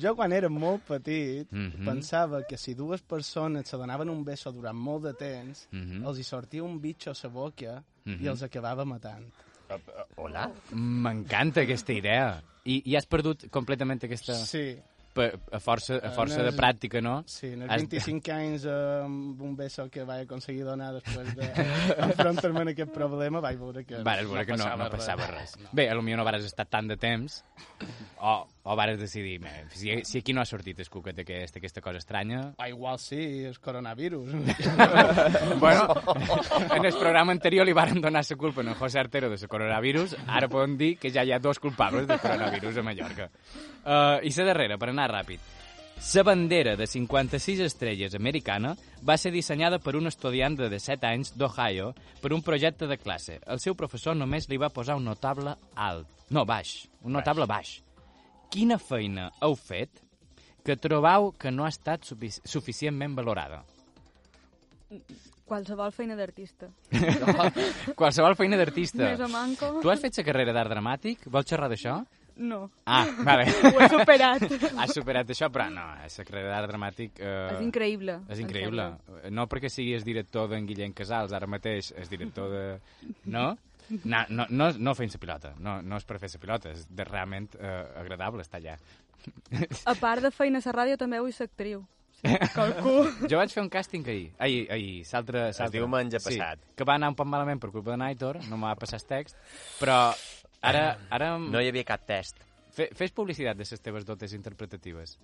S11: Jo, quan era molt petit,
S2: Mhm.
S11: pensava que si dues persones se donaven un beso durant molt de temps,
S2: Mhm.
S11: els hi sortia un bitxo a la boca
S2: Mhm.
S11: i els acabava matant.
S3: Hola?
S2: M'encanta aquesta idea. I, I has perdut completament aquesta...
S11: Sí.
S2: Per, a força, a força
S11: En
S2: de
S11: els-
S2: pràctica, Eh, no?
S11: Sí, en els
S2: Has- [laughs]
S11: 25 anys amb un beso que vaig aconseguir donar després d'enfrontar-me en aquest problema, vaig veure que
S2: Vares veure que no, no passava res. No. Bé, a lo millor no vares estar tant de temps o, o vares decidir, "Mira, si, si aquí no ha sortit el cuquet aquest, aquesta cosa estranya...
S11: Ah, igual sí, és coronavirus.
S2: [laughs]
S11: [laughs]
S2: bueno, en el programa anterior li varen donar la culpa a en José Artero de la coronavirus, ara podem dir que ja hi ha dos culpables del coronavirus a Mallorca. Uh, I la darrera, per anar ràpid. La bandera de 56 estrelles americana va ser dissenyada per un estudiant de 17 anys d'Ohio per un projecte de classe. El seu professor només li va posar un notable alt. No, baix. Un notable baix. Quina feina heu fet que trobau que no ha estat sufici suficientment valorada?
S10: Qualsevol feina
S2: [laughs]
S10: d'artista.
S2: Qualsevol feina d'artista.
S10: Més o manco.
S2: Tu has fet la carrera d'art dramàtic? Vols xerrar d'això?
S10: No.
S2: Ah, vale.
S10: [laughs] Ho he superat.
S2: [laughs] Has superat això, però no, la carrera d'art dramàtic... Eh,
S10: És increïble,
S2: És
S10: em
S2: increïble. No perquè siguis director d'en Guillem Casals, ara mateix és director de... No? No, no, no, no fent-se pilota, no, no és per fer-se pilota, és de, realment eh, agradable estar allà.
S10: A part de feina a la ràdio, també vull ser actriu.
S2: [laughs]
S10: Sí, qualcú.
S2: Jo vaig fer un càsting ahir. Ahir, ahir, l'altre...
S3: Es
S2: l'altre.
S3: diumenge
S2: sí,
S3: passat.
S2: que va anar un poc malament per culpa de Naitor, no me va passar el text, però ara... ara...
S3: No hi havia cap test.
S2: Fe, fes publicitat de les teves dotes interpretatives.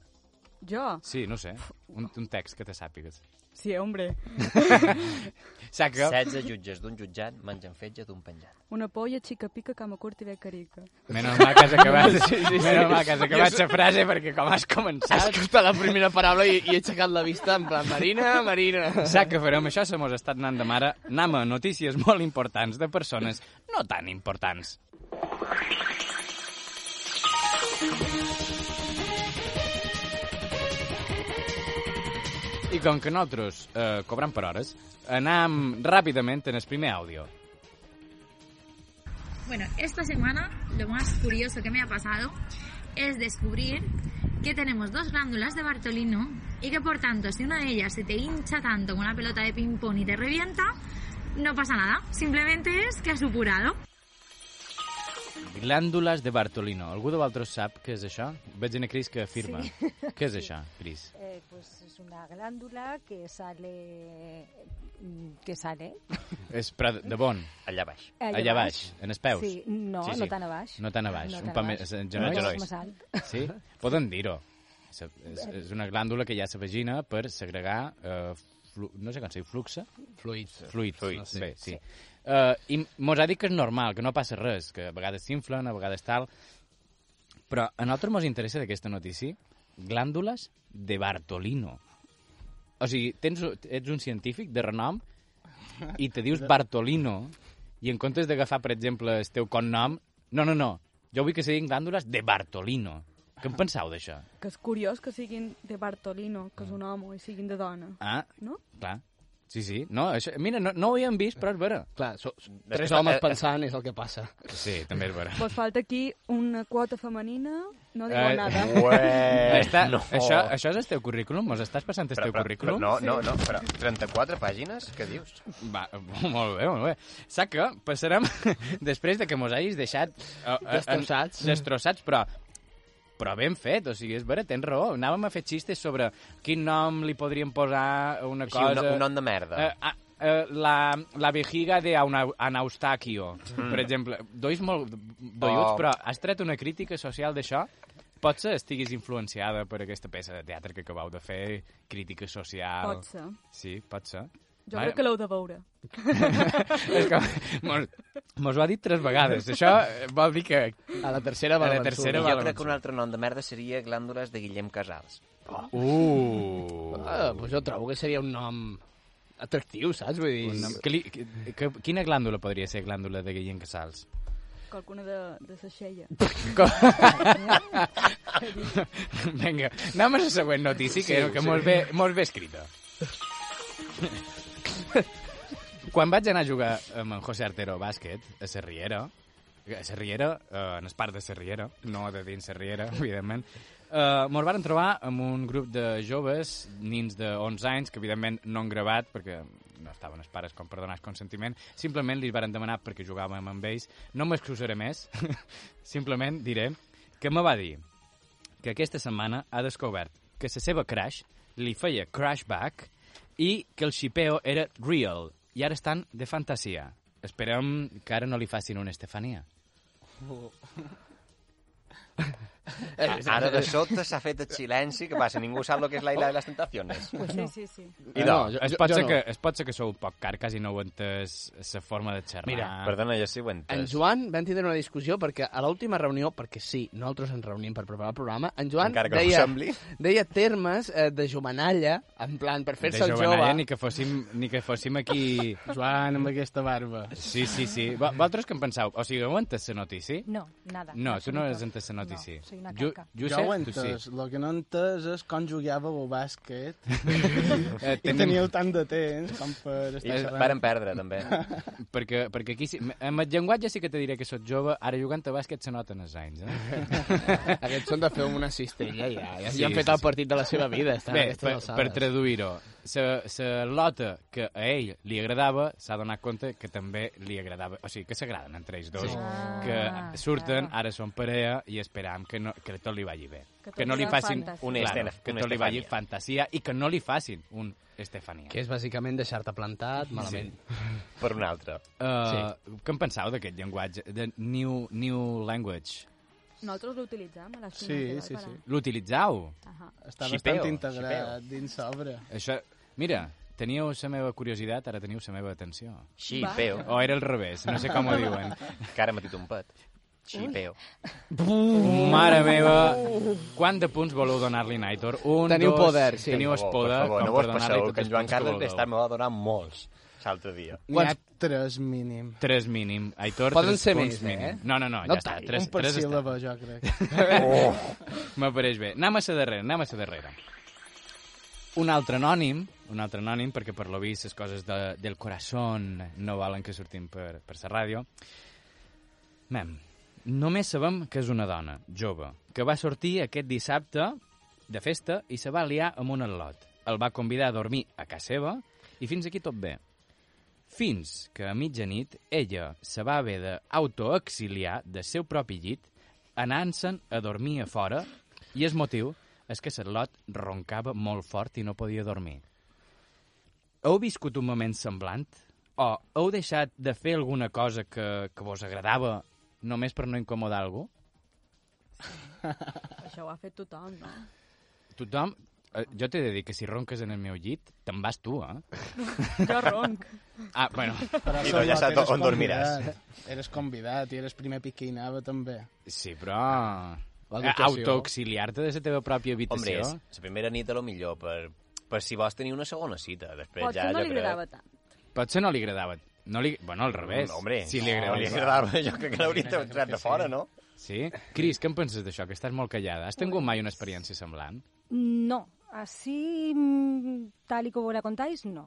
S10: Jo?
S2: Sí, no sé. Un, un text que te sàpigues.
S10: Sí, hombre.
S2: Saca.
S3: 16 jutges d'un jutjat mengen fetge d'un penjat.
S10: Una polla, xica pica, cama curta i beca rica.
S2: Menos mal que has acabat, sí, sí, sí. Menos mal que has acabat la frase perquè com has
S4: Has
S2: començat...
S4: escoltat la primera paraula i, i he aixecat la vista en plan, Marina, Marina...
S2: Sac que farem això, se mos ha estat anant de mare. Anem a notícies molt importants de persones no tan importants. I com que nosaltres eh, cobrem per hores, anam ràpidament en el primer àudio.
S13: Bueno, esta semana lo más curioso que me ha pasado es descubrir que tenemos dos glándulas de Bartolino y que por tanto si una de ellas se te hincha tanto con una pelota de ping pong y te revienta, no pasa nada, simplemente es que has supurado.
S2: Glàndules de Bartolino. Algú de vosaltres sap què és això? Veig en a Cris que afirma.
S12: Sí.
S2: Què
S12: [laughs]
S2: és
S12: Sí.
S2: això, Cris?
S12: Eh, pues es una glándula que sale... mm, que sale...
S2: És però de bon.
S3: Allà baix.
S12: Allà
S2: Allà,
S12: baix.
S2: baix. en els peus.
S12: Sí, no, no tan a baix.
S2: No tan a baix,
S12: No
S2: no
S12: tan
S2: un
S12: a
S2: pa
S12: baix.
S2: més en general
S12: No,
S2: gerois.
S12: és més alt.
S2: Sí? Poden dir-ho. És, és, és una glàndula que hi ha a la vagina per segregar eh, flu, no sé com se diu, fluxe?
S4: Fluids.
S2: Fluids,
S4: Fluids,
S2: no
S4: sí.
S2: sé. bé, sí. Uh, I mos ha dit que és normal, que no passa res, que a vegades s'inflen, a vegades tal... Però a nosaltres mos interessa d'aquesta notícia glàndules de Bartolino. O sigui, tens, ets un científic de renom i te
S3: [laughs]
S2: dius Bartolino i en comptes d'agafar, per exemple, el teu cognom... No, no, no. Jo vull que siguin glàndules de Bartolino. Què en penseu d'això?
S10: Que és curiós que siguin de Bartolino,
S2: Mm.
S10: que és un home, i siguin de dona.
S2: Ah,
S10: No?
S2: clar. Sí, sí. No, això, mira, no, no ho havíem vist, però és vera.
S4: Clar, so, Tres
S3: eh,
S4: homes pensant és el que passa.
S2: Sí, també és vera.
S10: Pues falta aquí una quota femenina, no digo
S2: Eh, [laughs]
S10: nada.
S3: [laughs]
S2: Està, no. això, això és el teu currículum? Mos estàs passant el teu currículum?
S3: Però, no, no, no, però 34 pàgines? Què dius?
S2: Va, [laughs] molt bé, molt bé. Saps què? Passarem, [laughs] després de que mos hagis deixat... eh, eh,
S4: Destrossats.
S2: en- Destrossats, però però ben fet, o sigui, és vera, tens raó. Anàvem a fer xistes sobre quin nom li podríem posar a una
S3: Així, un
S2: cosa...
S3: no- un nom de merda.
S2: Eh, ah, eh, la, la vejiga de Ana- Anaustàquio,
S3: Mm.
S2: mm. per exemple. Dois molt doiuts,
S3: Oh.
S2: però has tret una crítica social d'això? Potser estiguis influenciada per aquesta peça de teatre que acabeu de fer, crítica social...
S10: Pot ser.
S2: Sí, pot ser.
S10: Jo
S2: Mare-
S10: crec que l'heu de veure.
S2: [laughs] és que mos, mos ho ha dit tres vegades. Això vol dir que...
S4: A la tercera va
S2: a la
S4: la
S2: tercera
S3: Jo
S2: va la
S3: crec que un altre nom de merda seria glàndules de Guillem Casals.
S2: Uh.
S4: Ah, pues jo trobo que seria un nom atractiu, saps? Vull dir...
S2: Un nom- que li, que, que, quina glàndula podria ser glàndula de Guillem Casals?
S10: Qualcuna de, de
S2: [laughs]
S10: Seixella.
S2: [laughs] Vinga, anem a la següent notícia, que,
S4: Sí,
S2: que
S4: sí.
S2: mos, ve, mos ve escrita. [laughs] Quan vaig anar a jugar amb en José Artero a bàsquet, a Serriera, a Serriera, eh, en el parc de Serriera, no de dins Serriera, [laughs] evidentment, eh, mos varen trobar amb un grup de joves, nins de 11 anys, que evidentment no han gravat, perquè no estaven els pares com per donar el consentiment, simplement li varen demanar perquè jugàvem amb ells, no m'excusaré més, [laughs] simplement diré que me va dir que aquesta setmana ha descobert que la seva crush li feia crashback i que el xipeo era real i ara estan de fantasia. Esperem que ara no li facin una Estefania.
S3: Ah, Ara de sota s'ha fet el silenci, que passa, ningú sap el que és la isla de les tentaciones.
S10: Pues Sí, sí, sí.
S3: I no,
S2: Eh, es, pot ser que, es pot ser que sou un poc car, quasi no ho entès la forma de xerrar.
S4: Mira,
S3: Perdona, jo sí ho he
S4: En
S3: entès.
S4: Joan vam tindre una discussió perquè a l'última reunió, perquè sí, nosaltres ens reunim per preparar el programa, en Joan
S3: Encara que no ho
S4: deia,
S3: sembli.
S4: deia termes eh, de jovenalla, en plan, per fer-se
S2: de
S4: el
S2: jovenalla,
S4: jove.
S2: Ni que, fóssim, ni que fóssim aquí...
S11: [laughs] Joan, amb aquesta barba.
S2: Sí, sí, sí. Va- Vosaltres què en penseu? O sigui, heu entès la notícia?
S12: No, nada.
S2: No, tu no
S12: absoluto.
S2: has entès la notícia.
S12: No, soy una
S2: Ju-
S12: caca.
S11: Jo,
S2: Josep,
S11: ho he
S2: tu sí.
S11: entès. El que no he entès és com jugàveu a bàsquet.
S2: [laughs] Eh,
S11: I
S2: tenim-
S11: teníeu tant de temps com per estar
S3: I
S11: xerrant.
S3: varen perdre, també.
S2: [laughs] perquè, perquè aquí, sí, amb el llenguatge sí que te diré que sóc jove, ara jugant a bàsquet se noten els anys, eh?
S4: [laughs] Aquests són de fer una cistella, ja. Ja, ja han fet el partit de la seva vida, estan a
S2: Bé,
S4: aquestes
S2: per,
S4: alçades.
S2: per traduir-ho, sa, sa lota que a ell li agradava s'ha donat compte que també li agradava, o sigui, que s'agraden entre ells dos,
S4: Sí. Ah,
S2: que surten, ara són parella i esperam que, no, que tot li vagi bé.
S4: Que tot
S2: no li
S4: sigui
S2: facin
S4: fantasia.
S2: una
S4: Una
S2: claro,
S4: estena-
S2: que
S4: una
S2: tot li vagi
S4: Estefania.
S2: fantasia i que no li facin un Estefania.
S4: Que és bàsicament deixar-te plantat [laughs] malament.
S3: Per un altre.
S2: Eh, Uh, sí. Què en penseu d'aquest llenguatge, de new, new language?
S10: [laughs] Nosaltres l'utilitzem a les
S11: Sí,
S10: cuines
S11: sí, sí.
S2: L'utilitzau?
S10: Ahà.
S11: [laughs] Està
S2: Xipeo,
S11: bastant integrat
S2: xipeo.
S11: dins l'obra.
S2: Això... Mira, teníeu la meva curiositat, ara teniu la meva atenció.
S3: Xipeo.
S2: O era al revés, no sé com ho diuen.
S3: [laughs] Que ara m'ha dit un pet. Xipeo.
S2: Mare meva, quant de punts voleu donar-li, Naitor? Un,
S4: Teniu
S2: dos,
S4: poder, sí.
S2: Teniu el
S3: Per favor,
S2: poder
S3: per favor,
S2: com
S3: no
S2: per
S3: vos
S2: donar-li
S3: passeu,
S2: tots
S3: que en
S2: els
S3: Joan
S2: punts que
S3: Carles
S2: vulgueu.
S3: d'estar me va donar molts l'altre dia.
S11: Quants? Tres mínim.
S2: Tres mínim. Aitor,
S11: Poden
S2: tres
S11: ser més,
S2: punts
S11: eh?
S2: mínim. No, no, no,
S11: No
S2: ja està.
S11: tant.
S2: Tres,
S11: Un per
S2: tres
S11: síl·laba, jo
S2: està.
S11: crec.
S2: oh. [laughs] M'apareix bé. Anem a la darrera, anem a la darrera. Un altre anònim, un altre anònim, perquè per lo vist les coses de, del corazón no valen que sortim per, per la ràdio. Mem, només sabem que és una dona, jove, que va sortir aquest dissabte de festa i se va liar amb un al·lot. El va convidar a dormir a casa seva i fins aquí tot bé. Fins que a mitjanit ella se va haver d'autoexiliar del seu propi llit, anant-se'n a dormir a fora, i el motiu és que l'Arlot roncava molt fort i no podia dormir. Heu viscut un moment semblant? O heu deixat de fer alguna cosa que, que vos agradava només per no incomodar algú?
S10: Això ho ha fet tothom, no?
S2: Tothom... eh, Jo t'he de dir que si ronques en el meu llit, te'n vas tu, eh?
S10: [laughs] Jo ronc.
S2: Ah,
S11: [laughs]
S2: bueno.
S11: Però
S2: Idò,
S11: Salvat,
S2: saps
S11: eres convidat. Eres convidat i eres primer piquinava, també.
S2: Sí, però... eh,
S11: dotació.
S2: Autoauxiliar-te de la teva pròpia
S3: Hombre,
S2: habitació.
S3: és la primera nit a lo millor per, per si vols tenir una segona cita. Després
S10: Potser
S3: ja,
S10: no
S3: jo
S10: li
S3: crec-
S10: agradava tant.
S2: Potser no li agradava. No li... Bueno, al revés.
S3: No, Mm, hombre,
S2: si li
S3: no,
S2: agradava.
S3: li agradava, [laughs] jo crec que l'hauria entrat de fora, no?
S2: Sí? Cris, què en penses d'això? Que estàs molt callada. Has tingut mai una experiència semblant?
S12: No, así mm, tal y como la contáis, no.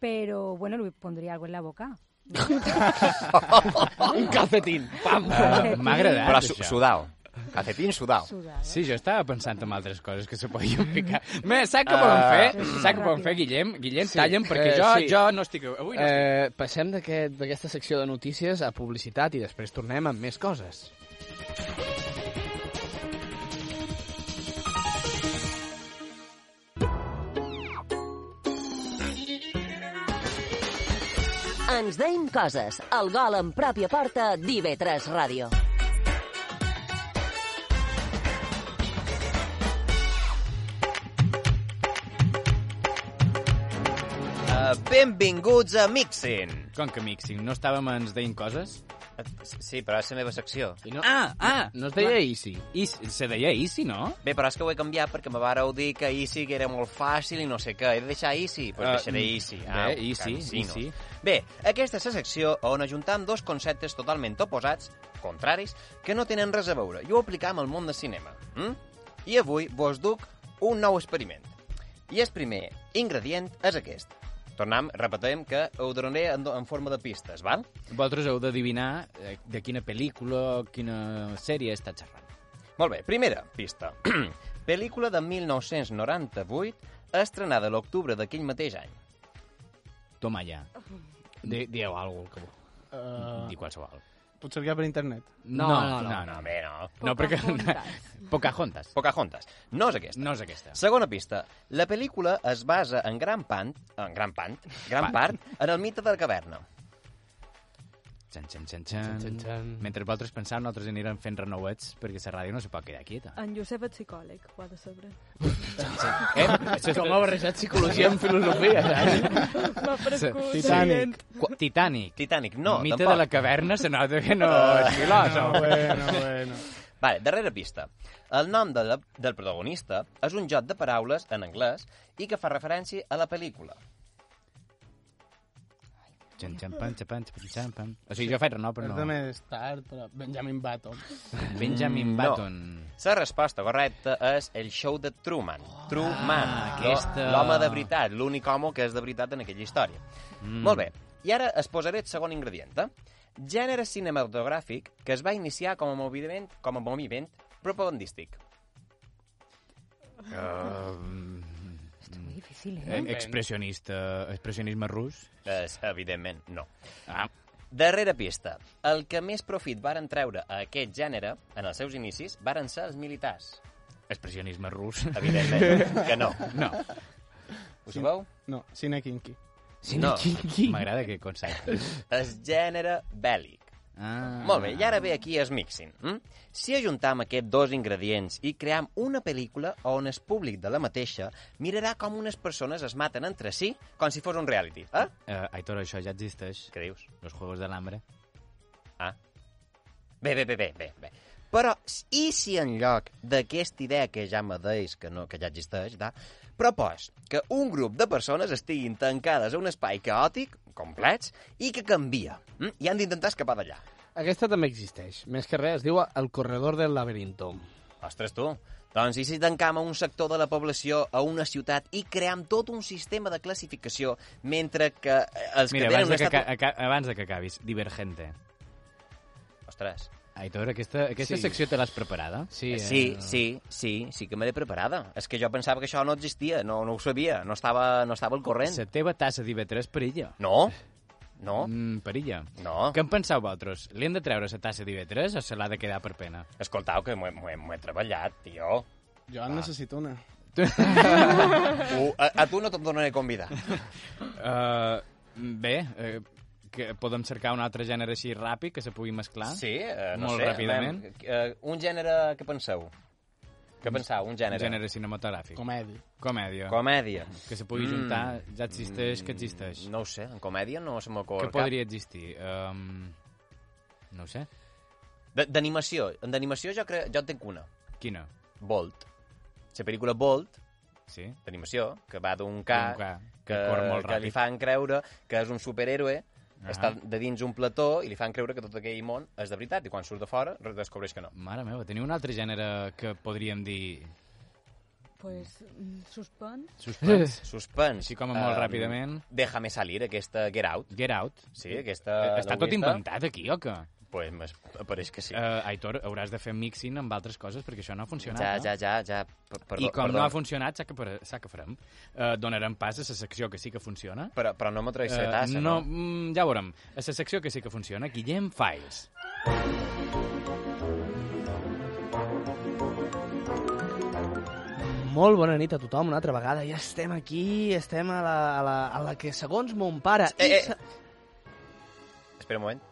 S12: Pero bueno, le pondría algo en la
S3: [laughs]
S12: boca. [laughs]
S4: Un calcetín. Pam.
S2: Uh, M'ha agradat,
S3: Però su
S2: això.
S3: sudau. Calcetín sudau.
S2: Sí, jo estava pensant en altres coses que se podien
S3: [laughs]
S2: picar. Bé, saps què poden fer?
S4: Eh,
S2: Saps què poden fer, Guillem? Guillem, talla'm, perquè jo, jo no estic... Avui no estic...
S4: eh, Passem d'aquest- d'aquesta secció de notícies a publicitat i després tornem amb més coses.
S1: Ens deim coses. El gol en pròpia porta d'IV3 Ràdio.
S3: Uh, benvinguts a Mixin.
S2: Com que Mixin? No estàvem ens deien coses?
S3: Sí, però és la meva secció.
S2: I no... Ah, ah!
S4: No es deia Easy.
S2: Easy. Se deia Easy, no?
S3: Bé, però és que ho he canviat perquè me vareu dir que Easy que era molt fàcil i no sé què. He de deixar Easy? Doncs
S2: Ah,
S3: pues deixaré
S2: mm.
S3: Easy.
S2: Bé,
S3: cansinos.
S2: Easy, Easy.
S3: Bé, aquesta és la secció on ajuntam dos conceptes totalment oposats, contraris, que no tenen res a veure i ho aplicam al món del cinema. Mm? I avui vos duc un nou experiment. I el primer ingredient és aquest. Tornem, repetim, que ho donaré en, en forma de pistes, val?
S2: Vosaltres heu d'adivinar eh, de quina pel·lícula o quina sèrie està xerrant.
S3: Molt bé, primera pista. [clears throat] Pel·lícula de 1998, estrenada a l'octubre d'aquell mateix any.
S2: Toma [laughs] ja. De, dieu alguna cosa que vol.
S11: Uh,
S2: Di qualsevol.
S11: Pots cercar per internet?
S2: Ah. no, no, no,
S3: bé, no.
S2: No, perquè... [laughs] Pocahontas.
S3: Pocahontas. No és aquesta.
S2: No és aquesta.
S3: Segona pista. La pel·lícula es basa en gran pant, en gran pant, gran part, en el mite de la caverna.
S2: Txan, txan, txan, txan. Txan, txan. Mentre vosaltres pensau, nosaltres anirem fent renouets perquè la ràdio no se pot quedar quieta.
S10: En Josep és psicòleg, ho ha de saber.
S3: [laughs]
S2: Eh? Això és-
S4: Com ha barrejat psicologia amb filosofia, saps?
S10: M'ha frescut.
S2: Titanic. Qu- Titanic.
S3: Titanic, no,
S2: Mite
S3: tampoc.
S2: de la caverna se nota que no
S3: Ah,
S2: és filòsof.
S3: no, bueno, bueno. Vale, darrera pista. El nom de la, del protagonista és un joc de paraules en anglès i que fa referència a la pel·lícula.
S2: Txan, txan, pan, txan, pan, txan, txan, pan. O sigui, jo faig renou, però
S11: És de
S2: no.
S11: més tard, però Benjamin
S2: [laughs]
S11: Button.
S2: Benjamin Button.
S3: Mm, La resposta correcta és el show de Truman. Truman,
S2: Ah, aquesta.
S3: l'home de veritat, l'únic home que és de veritat en aquella història. Mm. Molt bé, i ara es posaré el segon ingredient. Eh? Gènere cinematogràfic que es va iniciar com a moviment, com a moviment propagandístic.
S12: Esto es muy difícil, ¿eh?
S2: Eh, expressionista, expressionisme rus.
S3: Es, evidentment, no. Ah. Darrera pista. El que més profit varen treure a aquest gènere, en els seus inicis, varen ser els militars.
S2: Expressionisme [laughs] rus.
S3: Evidentment que no.
S2: No.
S3: Ho sabeu?
S11: No, Cine Kinky.
S3: Cine No. Kinky.
S2: M'agrada aquest concepte.
S3: El gènere bèl·lic.
S2: Ah.
S3: Molt bé, i ara ve aquí es mixin. Hm? Si ajuntam aquests dos ingredients i cream una pel·lícula on el públic de la mateixa mirarà com unes persones es maten entre si com si fos un reality, eh?
S2: Eh, Aitor, això ja existeix.
S3: Què dius?
S2: Los Juegos de l'Hambre.
S3: Ah. Bé, bé, bé, bé, bé, bé. Però, s- i si en lloc d'aquesta idea que ja me deis que, no, que ja existeix, da, propos que un grup de persones estiguin tancades a un espai caòtic, complets, i que canvia, mm? i han d'intentar escapar d'allà.
S4: Aquesta també existeix. Més que res, es diu El corredor del laberinto.
S3: Ostres, tu. Doncs i si tancam a un sector de la població, a una ciutat, i cream tot un sistema de classificació, mentre que eh, els
S2: Mira,
S3: que tenen
S2: abans de
S3: un
S2: que,
S3: estat...
S2: ca- aca- abans de que acabis, Divergente.
S3: Ostres.
S2: Aitor, aquesta, aquesta
S3: Sí.
S2: secció te l'has preparada? Eh,
S3: Sí, sí, sí, sí, sí que me l'he preparada. És que jo pensava que això no existia, no, no ho sabia, no estava, no estava al corrent.
S2: La teva tassa d'IV3 perilla.
S3: No, no.
S2: Mm, perilla.
S3: No.
S2: Què en penseu vosaltres? Li hem de treure la tassa d'IV3 o se l'ha de quedar per
S3: [laughs]
S2: pena?
S3: Escoltau, que m'ho he- m'ho he m'ho he treballat, tio.
S2: Ah.
S11: Jo en necessito
S2: [laughs]
S11: una. [laughs]
S3: Uh, a, a tu no te'n donaré convidar.
S2: Uh, bé, uh, que podem cercar un altre gènere així ràpid que se pugui mesclar?
S3: Sí, eh, no
S2: Molt
S3: sé.
S2: ràpidament.
S3: eh, un gènere, què penseu? Què penseu, un gènere?
S2: Un gènere cinematogràfic.
S11: Comèdia.
S2: Comèdia.
S3: Comèdia. Mm.
S2: Que se pugui juntar, ja existeix, que existeix.
S3: No ho sé, en comèdia no se m'ocorre
S2: Què podria existir? Um, no ho sé.
S3: De- D'animació. En D'animació jo, crec, jo en tinc una.
S2: Quina?
S3: Bolt. La pel·lícula Bolt,
S2: sí.
S3: d'animació, que va d'un ca,
S2: D'un ca,
S3: que,
S2: que corre molt
S3: que li
S2: ràpid.
S3: fan creure que és un superhéroe,
S2: Ah.
S3: està de dins un plató i li fan creure que tot aquell món és de veritat i quan surt de fora descobreix que no.
S2: Mare meva, teniu un altre gènere que
S3: [laughs]
S2: podríem dir...
S10: Pues, mm, suspens.
S2: Suspens.
S3: Suspens.
S2: Així com a molt ràpidament.
S3: Déjame salir, aquesta Get Out.
S2: Get Out.
S3: Sí, aquesta...
S2: Està tot inventat aquí, o què?
S3: Pues m'es- pareix que sí.
S2: Uh, Aitor, hauràs de fer mixing amb altres coses perquè això no ha funcionat.
S3: Ja,
S2: no?
S3: ja, ja, ja. Per, perdó,
S2: I com
S3: perdó.
S2: no ha funcionat, sap que, pare- sap que farem? Uh, donarem pas a la secció que sí que funciona.
S3: Però, però no m'atreveixo a
S2: Eh,
S3: la tassa, no?
S2: no? mm, Ja veurem. A la secció que sí que funciona, Guillem Files.
S4: Molt bona nit a tothom una altra vegada. Ja estem aquí, estem a la, a la, a la que segons mon pare...
S3: Eh,
S4: i se-
S3: Espera un moment.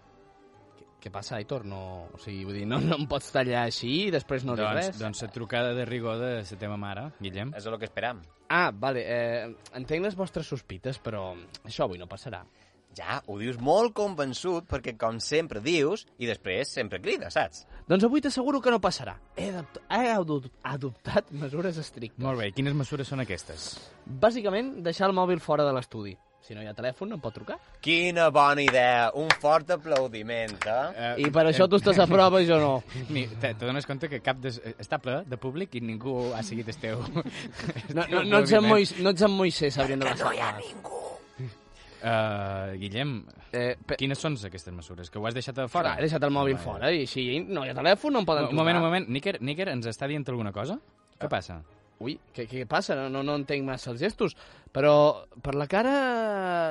S4: Què passa, Aitor? No, o sigui, vull dir, no, no em pots tallar així i després no dius
S2: doncs,
S4: res.
S2: Doncs la trucada de rigor de la teva mare, Guillem.
S3: És el que esperam.
S4: Ah, vale, eh, entenc les vostres sospites, però això avui no passarà.
S3: Ja, ho dius molt convençut, perquè com sempre dius, i després sempre crides, saps?
S4: Doncs avui t'asseguro que no passarà. He, adopt he adopt adoptat mesures estrictes.
S2: Molt bé, quines mesures són aquestes?
S4: Bàsicament, deixar el mòbil fora de l'estudi. Si no hi ha telèfon, no em pot trucar.
S3: Quina bona idea! Un fort aplaudiment, eh?
S4: I per això tu estàs a prova i jo no.
S2: Ni, te, te dones compte que cap de, està ple de públic i ningú ha seguit el teu...
S4: No, no, no, ets, en Mois, no ets en Moisés abriendo la sala.
S2: Uh, Guillem, eh, quines són aquestes mesures? Que ho has deixat a fora?
S4: Clar, he deixat el mòbil fora i així no hi ha telèfon, no em poden
S2: Un moment,
S4: trucar.
S2: un moment. Níker, Níker ens està dient alguna cosa? Què passa?
S4: Ah. Ui, què, què passa? No, no, no entenc massa els gestos, però per la cara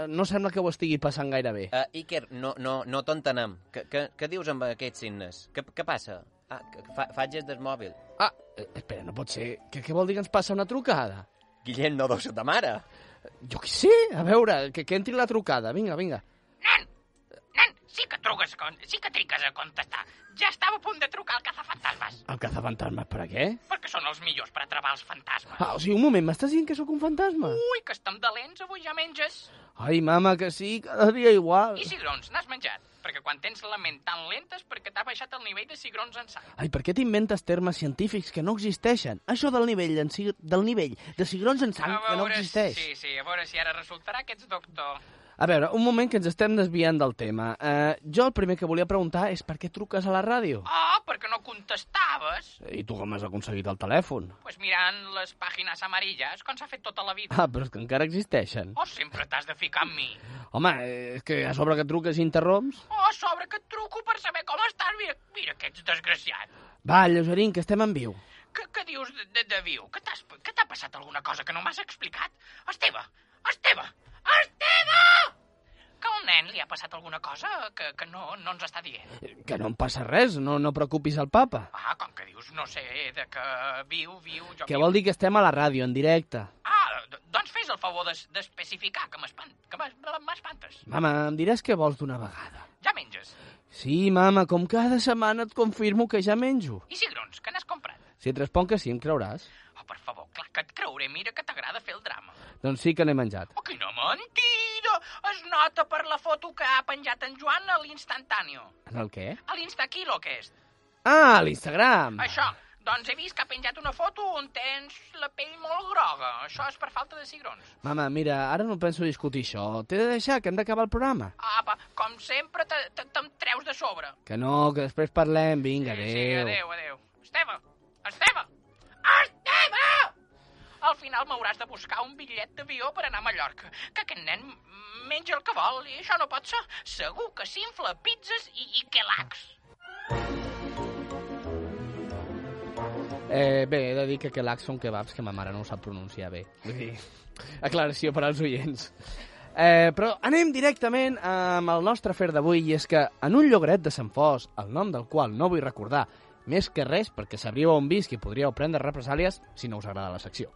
S4: no sembla que ho estigui passant gaire bé.
S3: Uh, Iker, no, no, no t'entenem. Què, què, què dius amb aquests signes? Què, què passa? Ah, que fa, faig des del mòbil.
S4: Ah, eh, espera, no pot ser. Què, què vol dir que ens passa una trucada?
S3: Guillem, no deu ser ta mare.
S4: Jo què sé? A veure, que, que entri la trucada. Vinga, vinga.
S14: Nen, sí que truques, con... sí que triques a contestar. Ja estava a punt de trucar al cazafantasmes,
S4: El cazafantasmes, per a què?
S14: perquè són els millors per atrapar els fantasmes.
S4: Ah, o sigui, un moment, m'estàs dient que sóc un fantasma?
S14: Ui, que estem lents, avui ja menges.
S4: Ai, mama, que sí, cada dia igual.
S14: I cigrons, n'has menjat? Perquè quan tens la ment tan lenta és perquè t'ha baixat el nivell de cigrons en sang.
S4: Ai, per què t'inventes termes científics que no existeixen? Això del nivell, en si... del nivell de cigrons en sang que no existeix.
S14: Sí, sí, a veure si ara resultarà que ets doctor.
S4: A veure, un moment que ens estem desviant del tema. Eh, jo el primer que volia preguntar és per què truques a la ràdio?
S14: Ah, perquè no contestaves?
S4: I tu com has aconseguit el telèfon?
S14: Pues mirant les pàgines amarilles, com s'ha fet tota la vida.
S4: Ah, però és que encara existeixen.
S14: Oh, sempre t'has de ficar amb mi.
S4: Home, eh, és que a sobre que truques i interromps...
S14: Oh, a sobre que et truco per saber com estàs. Mira, mira que ets desgraciat.
S4: Va, lleugerín, que estem en viu.
S14: Què, què dius de, de, de viu? Que t'has- que t'ha passat alguna cosa que no m'has explicat? Esteve! Esteve! Esteve! Que al nen li ha passat alguna cosa que, que no, no ens està dient.
S4: Que no em passa res, no, no preocupis el papa.
S14: Ah, com que dius, no sé, de que viu, viu, jo
S4: Que
S14: viu.
S4: vol dir que estem a la ràdio, en directe.
S14: Ah, d- doncs fes el favor d'es- d'especificar, que m'espan- que m'es- m'espantes.
S4: Mama, em diràs què vols d'una vegada.
S14: Ja menges.
S4: Sí, mama, com cada setmana et confirmo que ja menjo.
S14: I cigrons, que n'has comprat?
S4: Si et responc que sí, em creuràs.
S14: Oh, per favor, clar que et creuré, mira que t'agrada fer el drama.
S4: Doncs sí que n'he menjat.
S14: Oh, quina mentida! Es nota per la foto que ha penjat en Joan a l'instantàneo.
S4: En el què?
S14: A l'instaquilo aquest.
S4: Ah, a l'Instagram!
S14: Això, doncs he vist que ha penjat una foto on tens la pell molt groga. Això és per falta de cigrons.
S4: Mama, mira, ara no penso discutir això. T'he de deixar, que hem d'acabar el programa.
S14: Apa, Ah, com sempre te- te- te'm treus de sobre.
S4: Que no, que després parlem. Vinga, adéu.
S14: Sí, adéu, adéu. Esteve, Esteve, Esteve! Al final m'hauràs de buscar un bitllet d'avió per anar a Mallorca, que aquest nen menja el que vol i això no pot ser. Segur que s'infla pizzas i, i quelacs.
S4: Eh, bé, he de dir que Kelak són kebabs que ma mare no ho sap pronunciar bé. Vull dir, aclaració per als oients. Eh, però anem directament amb el nostre afer d'avui i és que en un llogaret de Sant Fos, el nom del qual no vull recordar, més que res perquè sabríeu on visc i podríeu prendre represàlies si no us agrada la secció.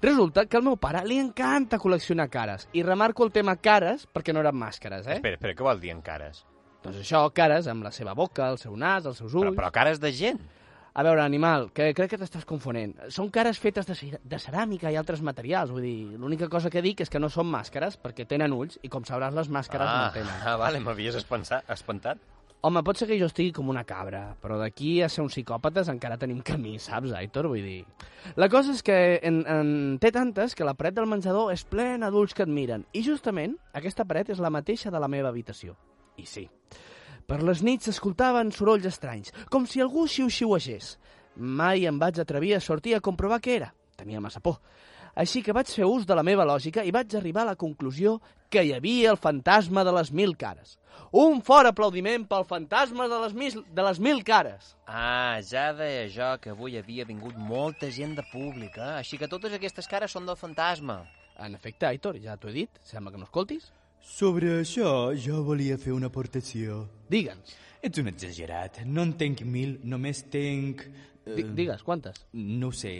S4: Resulta que al meu pare li encanta col·leccionar cares i remarco el tema cares perquè no eren màscares, eh?
S3: Espera, espera, què vol dir en cares?
S4: Doncs això, cares amb la seva boca, el seu nas, els seus ulls... Però,
S3: però cares de gent.
S4: A veure, animal, que crec que t'estàs confonent. Són cares fetes de, cera- de ceràmica i altres materials, vull dir, l'única cosa que dic és que no són màscares perquè tenen ulls i com sabràs les màscares
S3: ah,
S4: no tenen.
S3: ah, [laughs] vale, m'havies espansa- espantat.
S4: Home, pot ser que jo estigui com una cabra, però d'aquí a ser uns psicòpates encara tenim camí, saps, Aitor? Vull dir... La cosa és que en, en té tantes que la paret del menjador és plena d'ulls que et miren. I justament aquesta paret és la mateixa de la meva habitació. I sí. Per les nits s'escoltaven sorolls estranys, com si algú xiu-xiuegés. Mai em vaig atrevir a sortir a comprovar què era. Tenia massa por. Així que vaig fer ús de la meva lògica i vaig arribar a la conclusió que hi havia el fantasma de les mil cares. Un fort aplaudiment pel fantasma de les mil, de les mil cares.
S3: Ah, ja deia jo que avui havia vingut molta gent de públic, eh? Així que totes aquestes cares són del fantasma.
S4: En efecte, Aitor, ja t'ho he dit. Sembla que no escoltis.
S15: Sobre això, jo volia fer una aportació.
S4: Digue'ns.
S15: Ets un exagerat. No en tenc mil, només tenc... Eh,
S4: digues, quantes?
S15: No ho sé.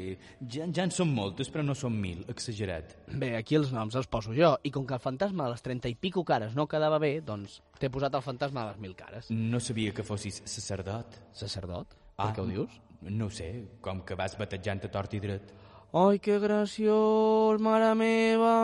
S15: Ja, ja en són moltes, però no són mil. Exagerat.
S4: Bé, aquí els noms els poso jo, i com que el fantasma de les trenta i pico cares no quedava bé, doncs t'he posat el fantasma de les mil cares.
S15: No sabia que fossis sacerdot. Ah,
S4: Sacerdot? Per què ho dius?
S15: No ho sé, com que vas batejant a tort i dret.
S4: Ai, que graciós, mare meva!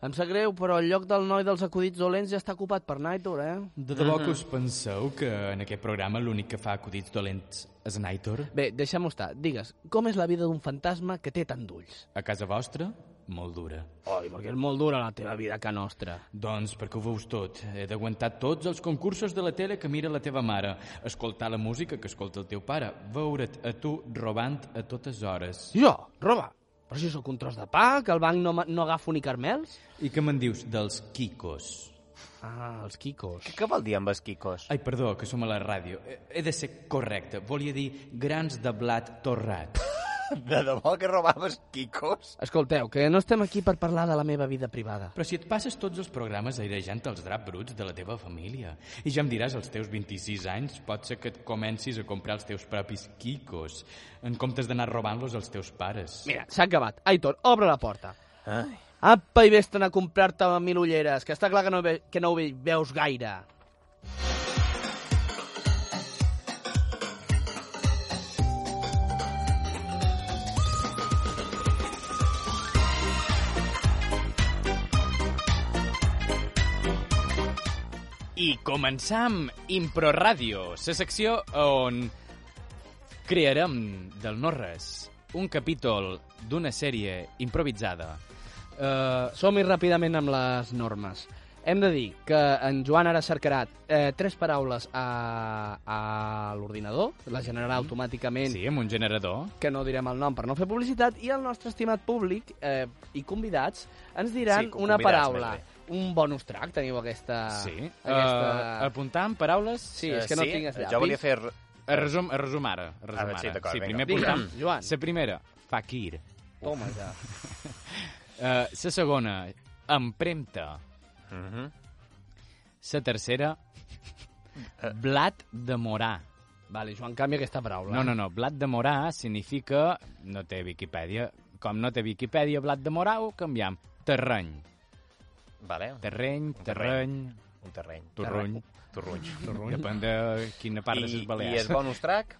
S4: Em sap greu, però el lloc del noi dels acudits dolents ja està ocupat per Nightor, eh?
S15: De debò
S3: Mhm.
S15: que us penseu que en aquest programa l'únic que fa acudits dolents és en Aitor?
S4: Bé, deixem-ho estar. Digues, com és la vida d'un fantasma que té tant d'ulls?
S15: A casa vostra, molt dura.
S4: Ai, perquè és molt dura la teva vida que nostra.
S15: Doncs perquè ho veus tot. He d'aguantar tots els concursos de la tele que mira la teva mare, escoltar la música que escolta el teu pare, veure't a tu robant a totes hores.
S4: Jo, roba! Però si sóc un tros de pa, que al banc no, ma- no agafo ni carmels?
S15: I què me'n dius dels quicos?
S4: Ah, els quicos.
S3: Què vol dir amb els quicos?
S15: Ai, perdó, que som a la ràdio. He- He de ser correcte. Volia dir grans de blat torrat.
S3: [laughs] De debò que robaves quicos?
S4: Escolteu, que no estem aquí per parlar de la meva vida privada.
S15: Però si et passes tots els programes airejant els drap bruts de la teva família, i ja em diràs als teus 26 anys, pot ser que et comencis a comprar els teus propis quicos, en comptes d'anar robant-los als teus pares.
S4: Mira, s'ha acabat. Aitor, obre la porta.
S15: Ai.
S4: Apa, i vés-te'n a comprar-te mil ulleres, que està clar que no, ve, que no ho ve- veus gaire.
S2: I començam Impro Ràdio, la secció on crearem del no-res un capítol d'una sèrie improvisada.
S4: Uh, Som-hi ràpidament amb les normes. Hem de dir que en Joan ara cercarà eh, tres paraules a, a l'ordinador, la generarà automàticament...
S2: Mm. Sí, amb un generador.
S4: Que no direm el nom per no fer publicitat, i el nostre estimat públic eh, i convidats ens diran
S2: Sí,
S4: una
S2: convidats,
S4: paraula.
S2: més
S4: Un bonus track, teniu aquesta...
S2: Sí.
S4: aquesta...
S2: Uh, apuntant paraules... Eh, Sí,
S4: és que no tinc els llapis.
S2: Jo volia fer... A resum, a resum ara. A resum
S4: Ah,
S2: ara.
S4: sí, d'acord,
S2: sí,
S4: vinga.
S2: primer
S4: Digue'm,
S2: apuntam.
S4: Joan.
S2: La primera, Fakir.
S4: Toma
S2: [laughs]
S4: ja.
S2: La segona, empremta. La tercera, blat de morà.
S4: Vale, Joan, canvia aquesta paraula.
S2: No, no, no. Blat de morà significa... No té Viquipèdia. Com no té Viquipèdia, blat de morà ho canviem. Terreny.
S3: Vale.
S2: Terreny, terreny,
S3: Un terreny.
S2: Torruny. Torruny. Torruny. Depèn de quina part de
S3: I-
S2: les Balears.
S3: i el bonus track?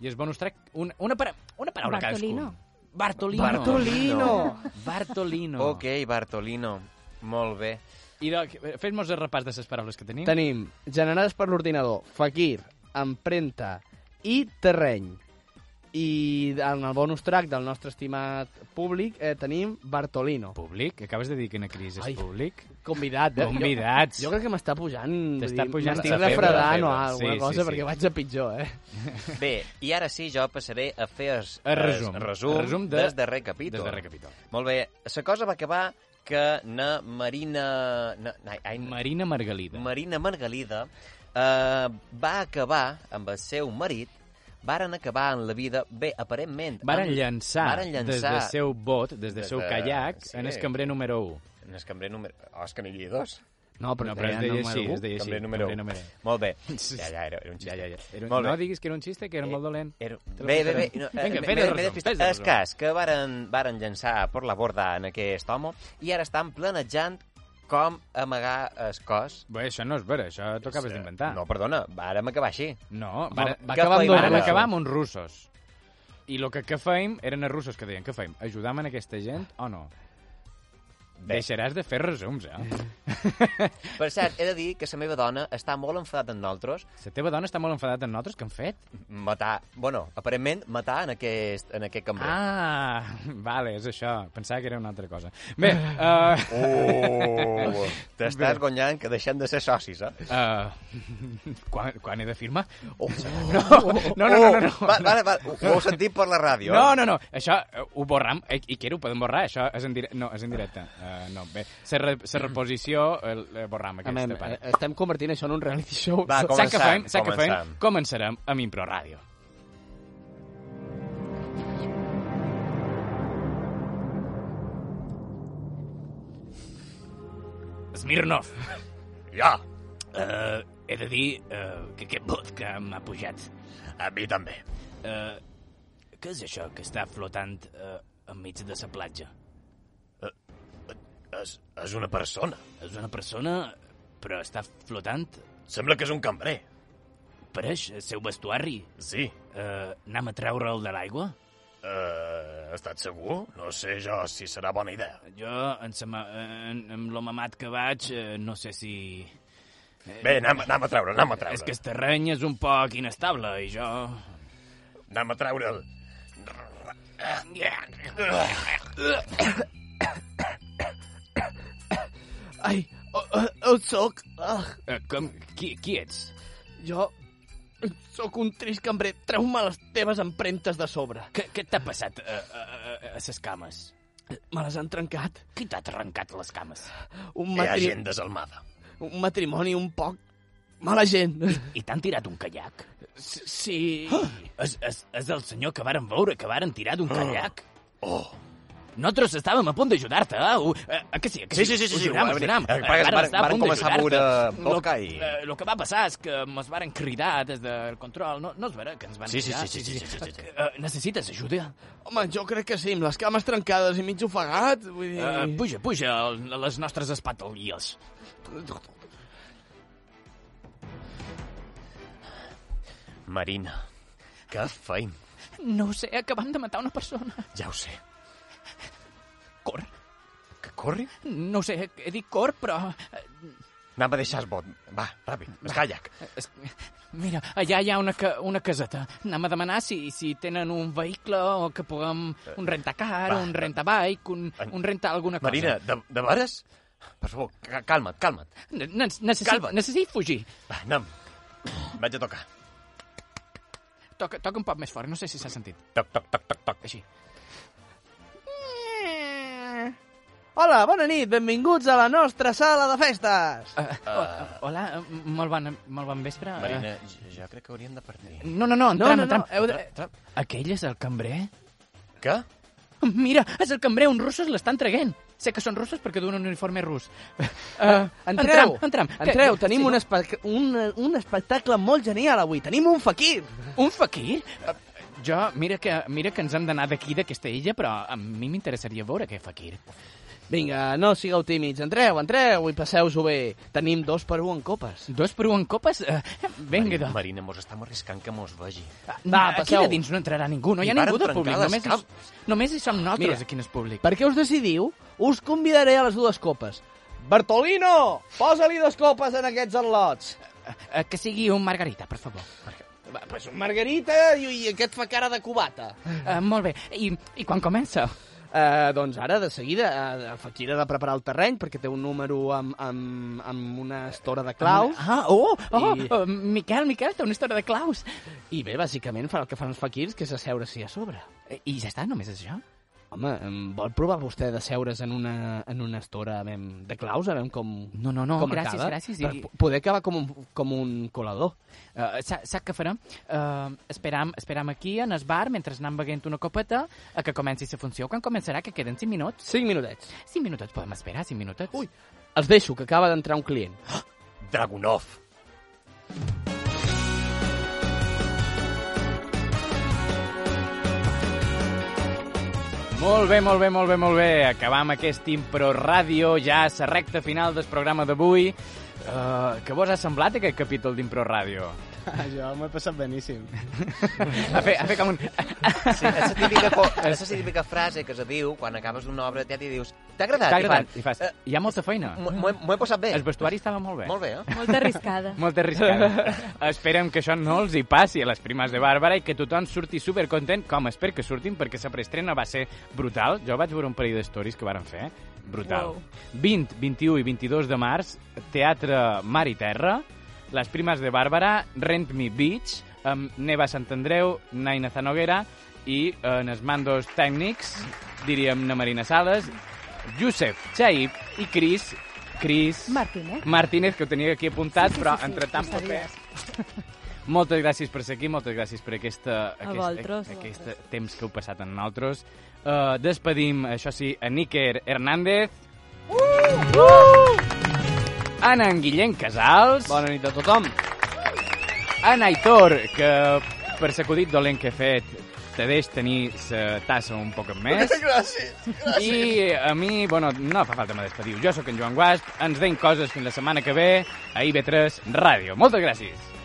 S2: I el bonus track, una, una, para, una paraula
S3: Bartolino.
S2: cadascú. Bartolino. Bartolino.
S3: Ok, Bartolino. Molt bé.
S2: I de- fes-nos el repàs de les paraules que tenim.
S4: Tenim generades per l'ordinador, fakir, empremta i terreny. I en el bonus track del nostre estimat públic eh, tenim Bartolino.
S2: Públic? Acabes de dir que una crisi és
S4: Ai.
S2: públic?
S4: Convidat, eh?
S2: Convidats.
S4: Jo, jo crec que m'està pujant... vull
S2: T'està
S4: dir,
S2: pujant
S4: M'estic
S2: la febre, la
S4: refredant
S2: febre.
S4: o alguna
S2: Sí, sí,
S4: cosa
S2: sí.
S4: perquè vaig a pitjor, eh?
S3: Bé, i ara sí, jo passaré a fer es,
S2: El resum.
S3: es, resum,
S2: El resum de-
S3: des darrer capítol.
S2: des darrer capítol.
S3: Molt bé, la cosa va acabar que na Marina... Na, ai, ai,
S2: Marina Margalida.
S3: Marina Margalida eh, va acabar amb el seu marit, varen acabar en la vida... Bé, aparentment...
S2: Varen
S3: amb-
S2: llançar,
S3: varen
S2: des
S3: llançar
S2: del seu bot, des del seu caiac, en el cambrer número 1.
S3: En el cambrer número... Oh, és que n'hi havia dos.
S2: No, però No, però es deia número així, u. es deia així,
S3: Cambrer número,
S2: cambrer número
S3: 1. Molt
S2: [laughs]
S3: bé. Ja, ja, era, era un xiste. Ja, ja, ja.
S2: Era un- no diguis que era un xiste, que era molt dolent.
S3: Eh, Era...
S2: Te lo
S3: Bé, bé, bé.
S2: passarem.
S3: No, eh,
S2: Vinga,
S3: m'he-
S2: fes el
S3: m'he
S2: resum,
S3: despistat.
S2: fes el
S3: El
S2: resum.
S3: cas que varen, varen llançar per la borda en aquest home i ara estan planejant com amagar el cos.
S2: Bé, això no és vera, això t'ho acabes d'inventar.
S3: No, perdona, vàrem acabar així.
S2: No,
S3: Home,
S2: va, va,
S3: què
S2: acabar, amb,
S3: feim
S2: va,
S3: ara?
S2: acabar amb uns russos. I el que, que feim eren els russos que deien, què feim? Ajudam en aquesta gent o no? Deixaràs de fer resums,
S3: [laughs]
S2: eh?
S3: Per cert, he de dir que la meva dona està molt enfadada amb nosaltres.
S2: La teva dona està molt enfadada amb nosaltres? Què han fet?
S3: Matar, bueno, aparentment matar en aquest, en aquest cambrer.
S2: Ah, vale, és això. Pensava que era una altra cosa. Bé, uh... [laughs]
S3: Oh, t'estàs
S2: Bé.
S3: guanyant que deixem de ser socis, eh?
S2: Uh, quan, quan he de firmar?
S3: Oh,
S2: no, no, no, no, no, no.
S3: Va, vale, vale, ho- ho heu sentit per la ràdio,
S2: No,
S3: eh?
S2: no, no, això eh, ho borram, eh, i què, ho podem borrar? Això és en directe, no, és en directe. Uh, no, bé, se, re, se reposició, el, eh, borram aquesta
S4: Amem,
S2: part.
S4: estem convertint això en un reality show.
S2: Eh, Va, començam, que fem, saps què fem? Començarem amb Impro Ràdio. Smirnov.
S16: [laughs] Ja.
S2: Uh, he de dir uh, que aquest bot que m'ha pujat...
S16: A mi també.
S2: Uh, què és això que està flotant uh, enmig de la platja?
S16: Eh, És, és una persona.
S2: És una persona, però està flotant?
S16: Sembla que és un cambrer.
S2: Pareix el seu vestuari.
S16: Sí.
S2: Uh, anem a treure'l de l'aigua?
S16: Uh, estat segur? No sé jo si serà bona idea.
S2: Jo, en sa ma- en, amb lo mamat que vaig, eh, no sé si... eh,
S16: Bé, anem- anem a treure'l, anem a treure'l.
S2: És que el terreny és un poc inestable, i jo...
S16: Anem a treure'l.
S4: Ai, eh, on soc? Ah,
S2: Eh, com, qui, qui ets?
S4: jo sóc un trist cambrer. Treu-me les teves empremtes de sobre.
S2: Què, què t'ha passat a, a, a, a ses cames?
S4: Me les han trencat.
S2: Qui t'ha trencat les cames?
S4: Un matri...
S16: desalmada.
S4: Un matrimoni un poc... Mala gent.
S2: I t'han tirat un caiac?
S4: Sí.
S2: Ah, és, és, és el senyor que varen veure, que varen tirar
S16: Ah.
S2: d'un caiac? Oh. Nosaltres estàvem a punt d'ajudar-te, eh? Ho- eh, eh, que sí, eh, que sí?
S16: Sí, sí, sí, sí,
S2: Ho
S16: sí,
S2: juram,
S16: ho
S2: ho
S16: vam-
S2: juram.
S16: eh,
S2: Eh,
S16: varen-
S2: varen estar
S16: varen
S2: punt
S16: començar a
S2: d'ajudar-te.
S16: beure vodka i-
S2: Lo- eh, Lo que va passar és que mos varen cridar des del control. No, no és vera que ens van
S16: Sí, sí,
S2: cridar?
S16: sí, sí, sí, sí, sí, sí.
S2: Eh, eh, necessites ajuda?
S4: Home, jo crec que sí, amb les cames trencades i mig ofegat, vull dir...
S2: Eh, puja, puja a les nostres espatolies.
S3: Marina, què feim?
S7: No ho sé, acabem de matar una persona.
S3: Ja ho sé.
S2: Corre.
S3: Que corri?
S2: No ho sé, he dit cor, però... eh,
S3: Anem a deixar el bot. Va, ràpid, el caiac.
S2: es- Mira, allà hi ha una, ca una caseta. Anem a demanar si, si tenen un vehicle o que puguem...
S3: Eh,
S2: Un rentacar,
S16: Va,
S2: un rentabike, un,
S16: en-
S2: un renta alguna cosa.
S16: Marina, de, de veres? Per favor, ca- calma't, calma't.
S2: Ne- ne- Necessit,
S16: Calva't.
S2: necessit fugir.
S16: Va, anem. Vaig a tocar.
S2: Toca, toca un poc més fort, no sé si s'ha sentit.
S16: Toc, toc, toc, toc, toc.
S2: Així.
S4: Hola, bona nit, benvinguts a la nostra sala de festes!
S2: Uh, hola, eh, molt bon, molt bon vespre. eh.
S3: Ah. Marina, jo, jo crec que hauríem de partir.
S2: No, no, no,
S4: No,
S2: entram,
S4: no, no,
S2: entram.
S4: heu de-
S2: Aquell és el cambrer?
S3: Què?
S2: Mira, és el cambrer, uns russos l'estan traguent. Sé que són russos perquè duen un uniforme rus. Eh,
S4: Uh, entreu,
S2: entram, entram.
S4: entreu.
S2: Què-
S4: Tenim un,
S2: sí, no?
S4: espe un, un espectacle molt genial avui. Tenim un fakir.
S2: Un Eh, fakir? Jo, mira que, mira que ens hem d'anar d'aquí, d'aquesta illa, però a mi m'interessaria veure què fakir.
S4: Vinga, no sigueu tímids. Entreu, entreu i passeu-vos-ho bé. Tenim dos per un en copes. Eh, doncs.
S2: Dos per un en copes? Uh,
S3: vinga, Marina, Marina, mos estem arriscant que mos vegi.
S4: Ah,
S2: Va, aquí de dins no entrarà ningú, no hi
S3: I
S2: ha
S3: varen
S2: ningú del
S3: trencar
S2: públic.
S3: les
S2: Només,
S3: capes.
S2: només hi som nosaltres,
S4: Mira.
S2: Mira. aquí en el públic.
S4: Per què us decidiu? Us convidaré a les dues copes. Bartolino, posa-li dos copes en aquests al·lots.
S2: Eh, que sigui un margarita, per favor.
S4: Va, pues un margarita i, i aquest fa cara de cubata.
S2: Uh, molt bé. I, i quan comença?
S4: Uh, doncs ara, de seguida, uh, el Fakir ha de preparar el terreny perquè té un número amb, amb, amb una estora de claus.
S2: Ah, oh, oh,
S4: I-
S2: oh, Miquel, Miquel, té una història de claus.
S4: I bé, bàsicament fa el que fan els faquirs, que és asseure-s'hi a sobre.
S2: Eh, I ja està, només és això?
S4: Home, em vol provar vostè d'asseure's en una, en una estora a veure, de claus, a veure com
S2: No, no, no,
S4: com
S2: gràcies,
S4: acaba,
S2: gràcies,
S4: Per
S2: i-
S4: po- poder acabar com un, com un colador.
S2: Uh, sap què farem? Uh, esperam, esperam aquí, en el bar, mentre anem beguent una copeta, a que comenci la funció. Quan començarà? Que queden 5 minuts?
S4: 5 minutets.
S2: 5 minutets, podem esperar 5 minutets. Ui,
S4: Els deixo, que acaba d'entrar un client.
S16: Dragunov.
S2: Molt bé, molt bé, molt bé, molt bé. Acabam aquest Impro Ràdio, ja a la recta final del programa d'avui. Uh, què vos ha semblat aquest capítol d'Impro Ràdio?
S11: Jo m'ho he passat beníssim.
S2: A fer, a fer com un...
S6: Sí, és la típica, co-
S2: [laughs]
S6: és la típica frase que se diu quan acabes una obra de teatre i dius t'ha agradat?
S2: T'ha agradat?
S6: I
S2: I fas, hi ha molta feina.
S6: fan, "M'ho he- M'ho he passat bé.
S2: El vestuari estava molt bé.
S6: Molt bé, eh?
S10: Molt arriscada.
S2: Molt arriscada. Esperem que això no els hi passi a les primes de Bàrbara i que tothom surti supercontent, com espero que surtin, perquè la preestrena va ser brutal. Jo vaig veure un parell de stories que varen fer, eh? brutal.
S10: Wow.
S2: 20, 21 i 22 de març, Teatre Mar i Terra, les primes de Bàrbara, Rent Me Beach, amb Neva Sant Andreu, Naina Zanoguera i eh, en els mandos tècnics, diríem na Marina Sales, Josep, Chaib i Cris, Cris...
S12: Martínez.
S2: Martínez, que ho tenia aquí apuntat,
S12: Sí, sí,
S2: però
S12: sí, sí,
S2: entre tant
S12: ho
S2: paper...
S12: sabies.
S2: Moltes gràcies per ser aquí, moltes gràcies per aquesta, aquest,
S10: vosaltres, a
S2: aquest temps que heu passat amb nosaltres. Uh, despedim, això sí, a Níker Hernández. Uh! Uh! En en Guillem Casals.
S4: Bona nit a tothom.
S2: En Aitor, que per l'acudit dolent que he fet te deix tenir la tassa un poc més.
S4: [laughs]
S16: Gràcies,
S2: I a mi, bueno, no fa falta me despedir. Jo sóc en Joan Guasp, ens deim coses fins la setmana que ve a IB3 Ràdio. Moltes gràcies.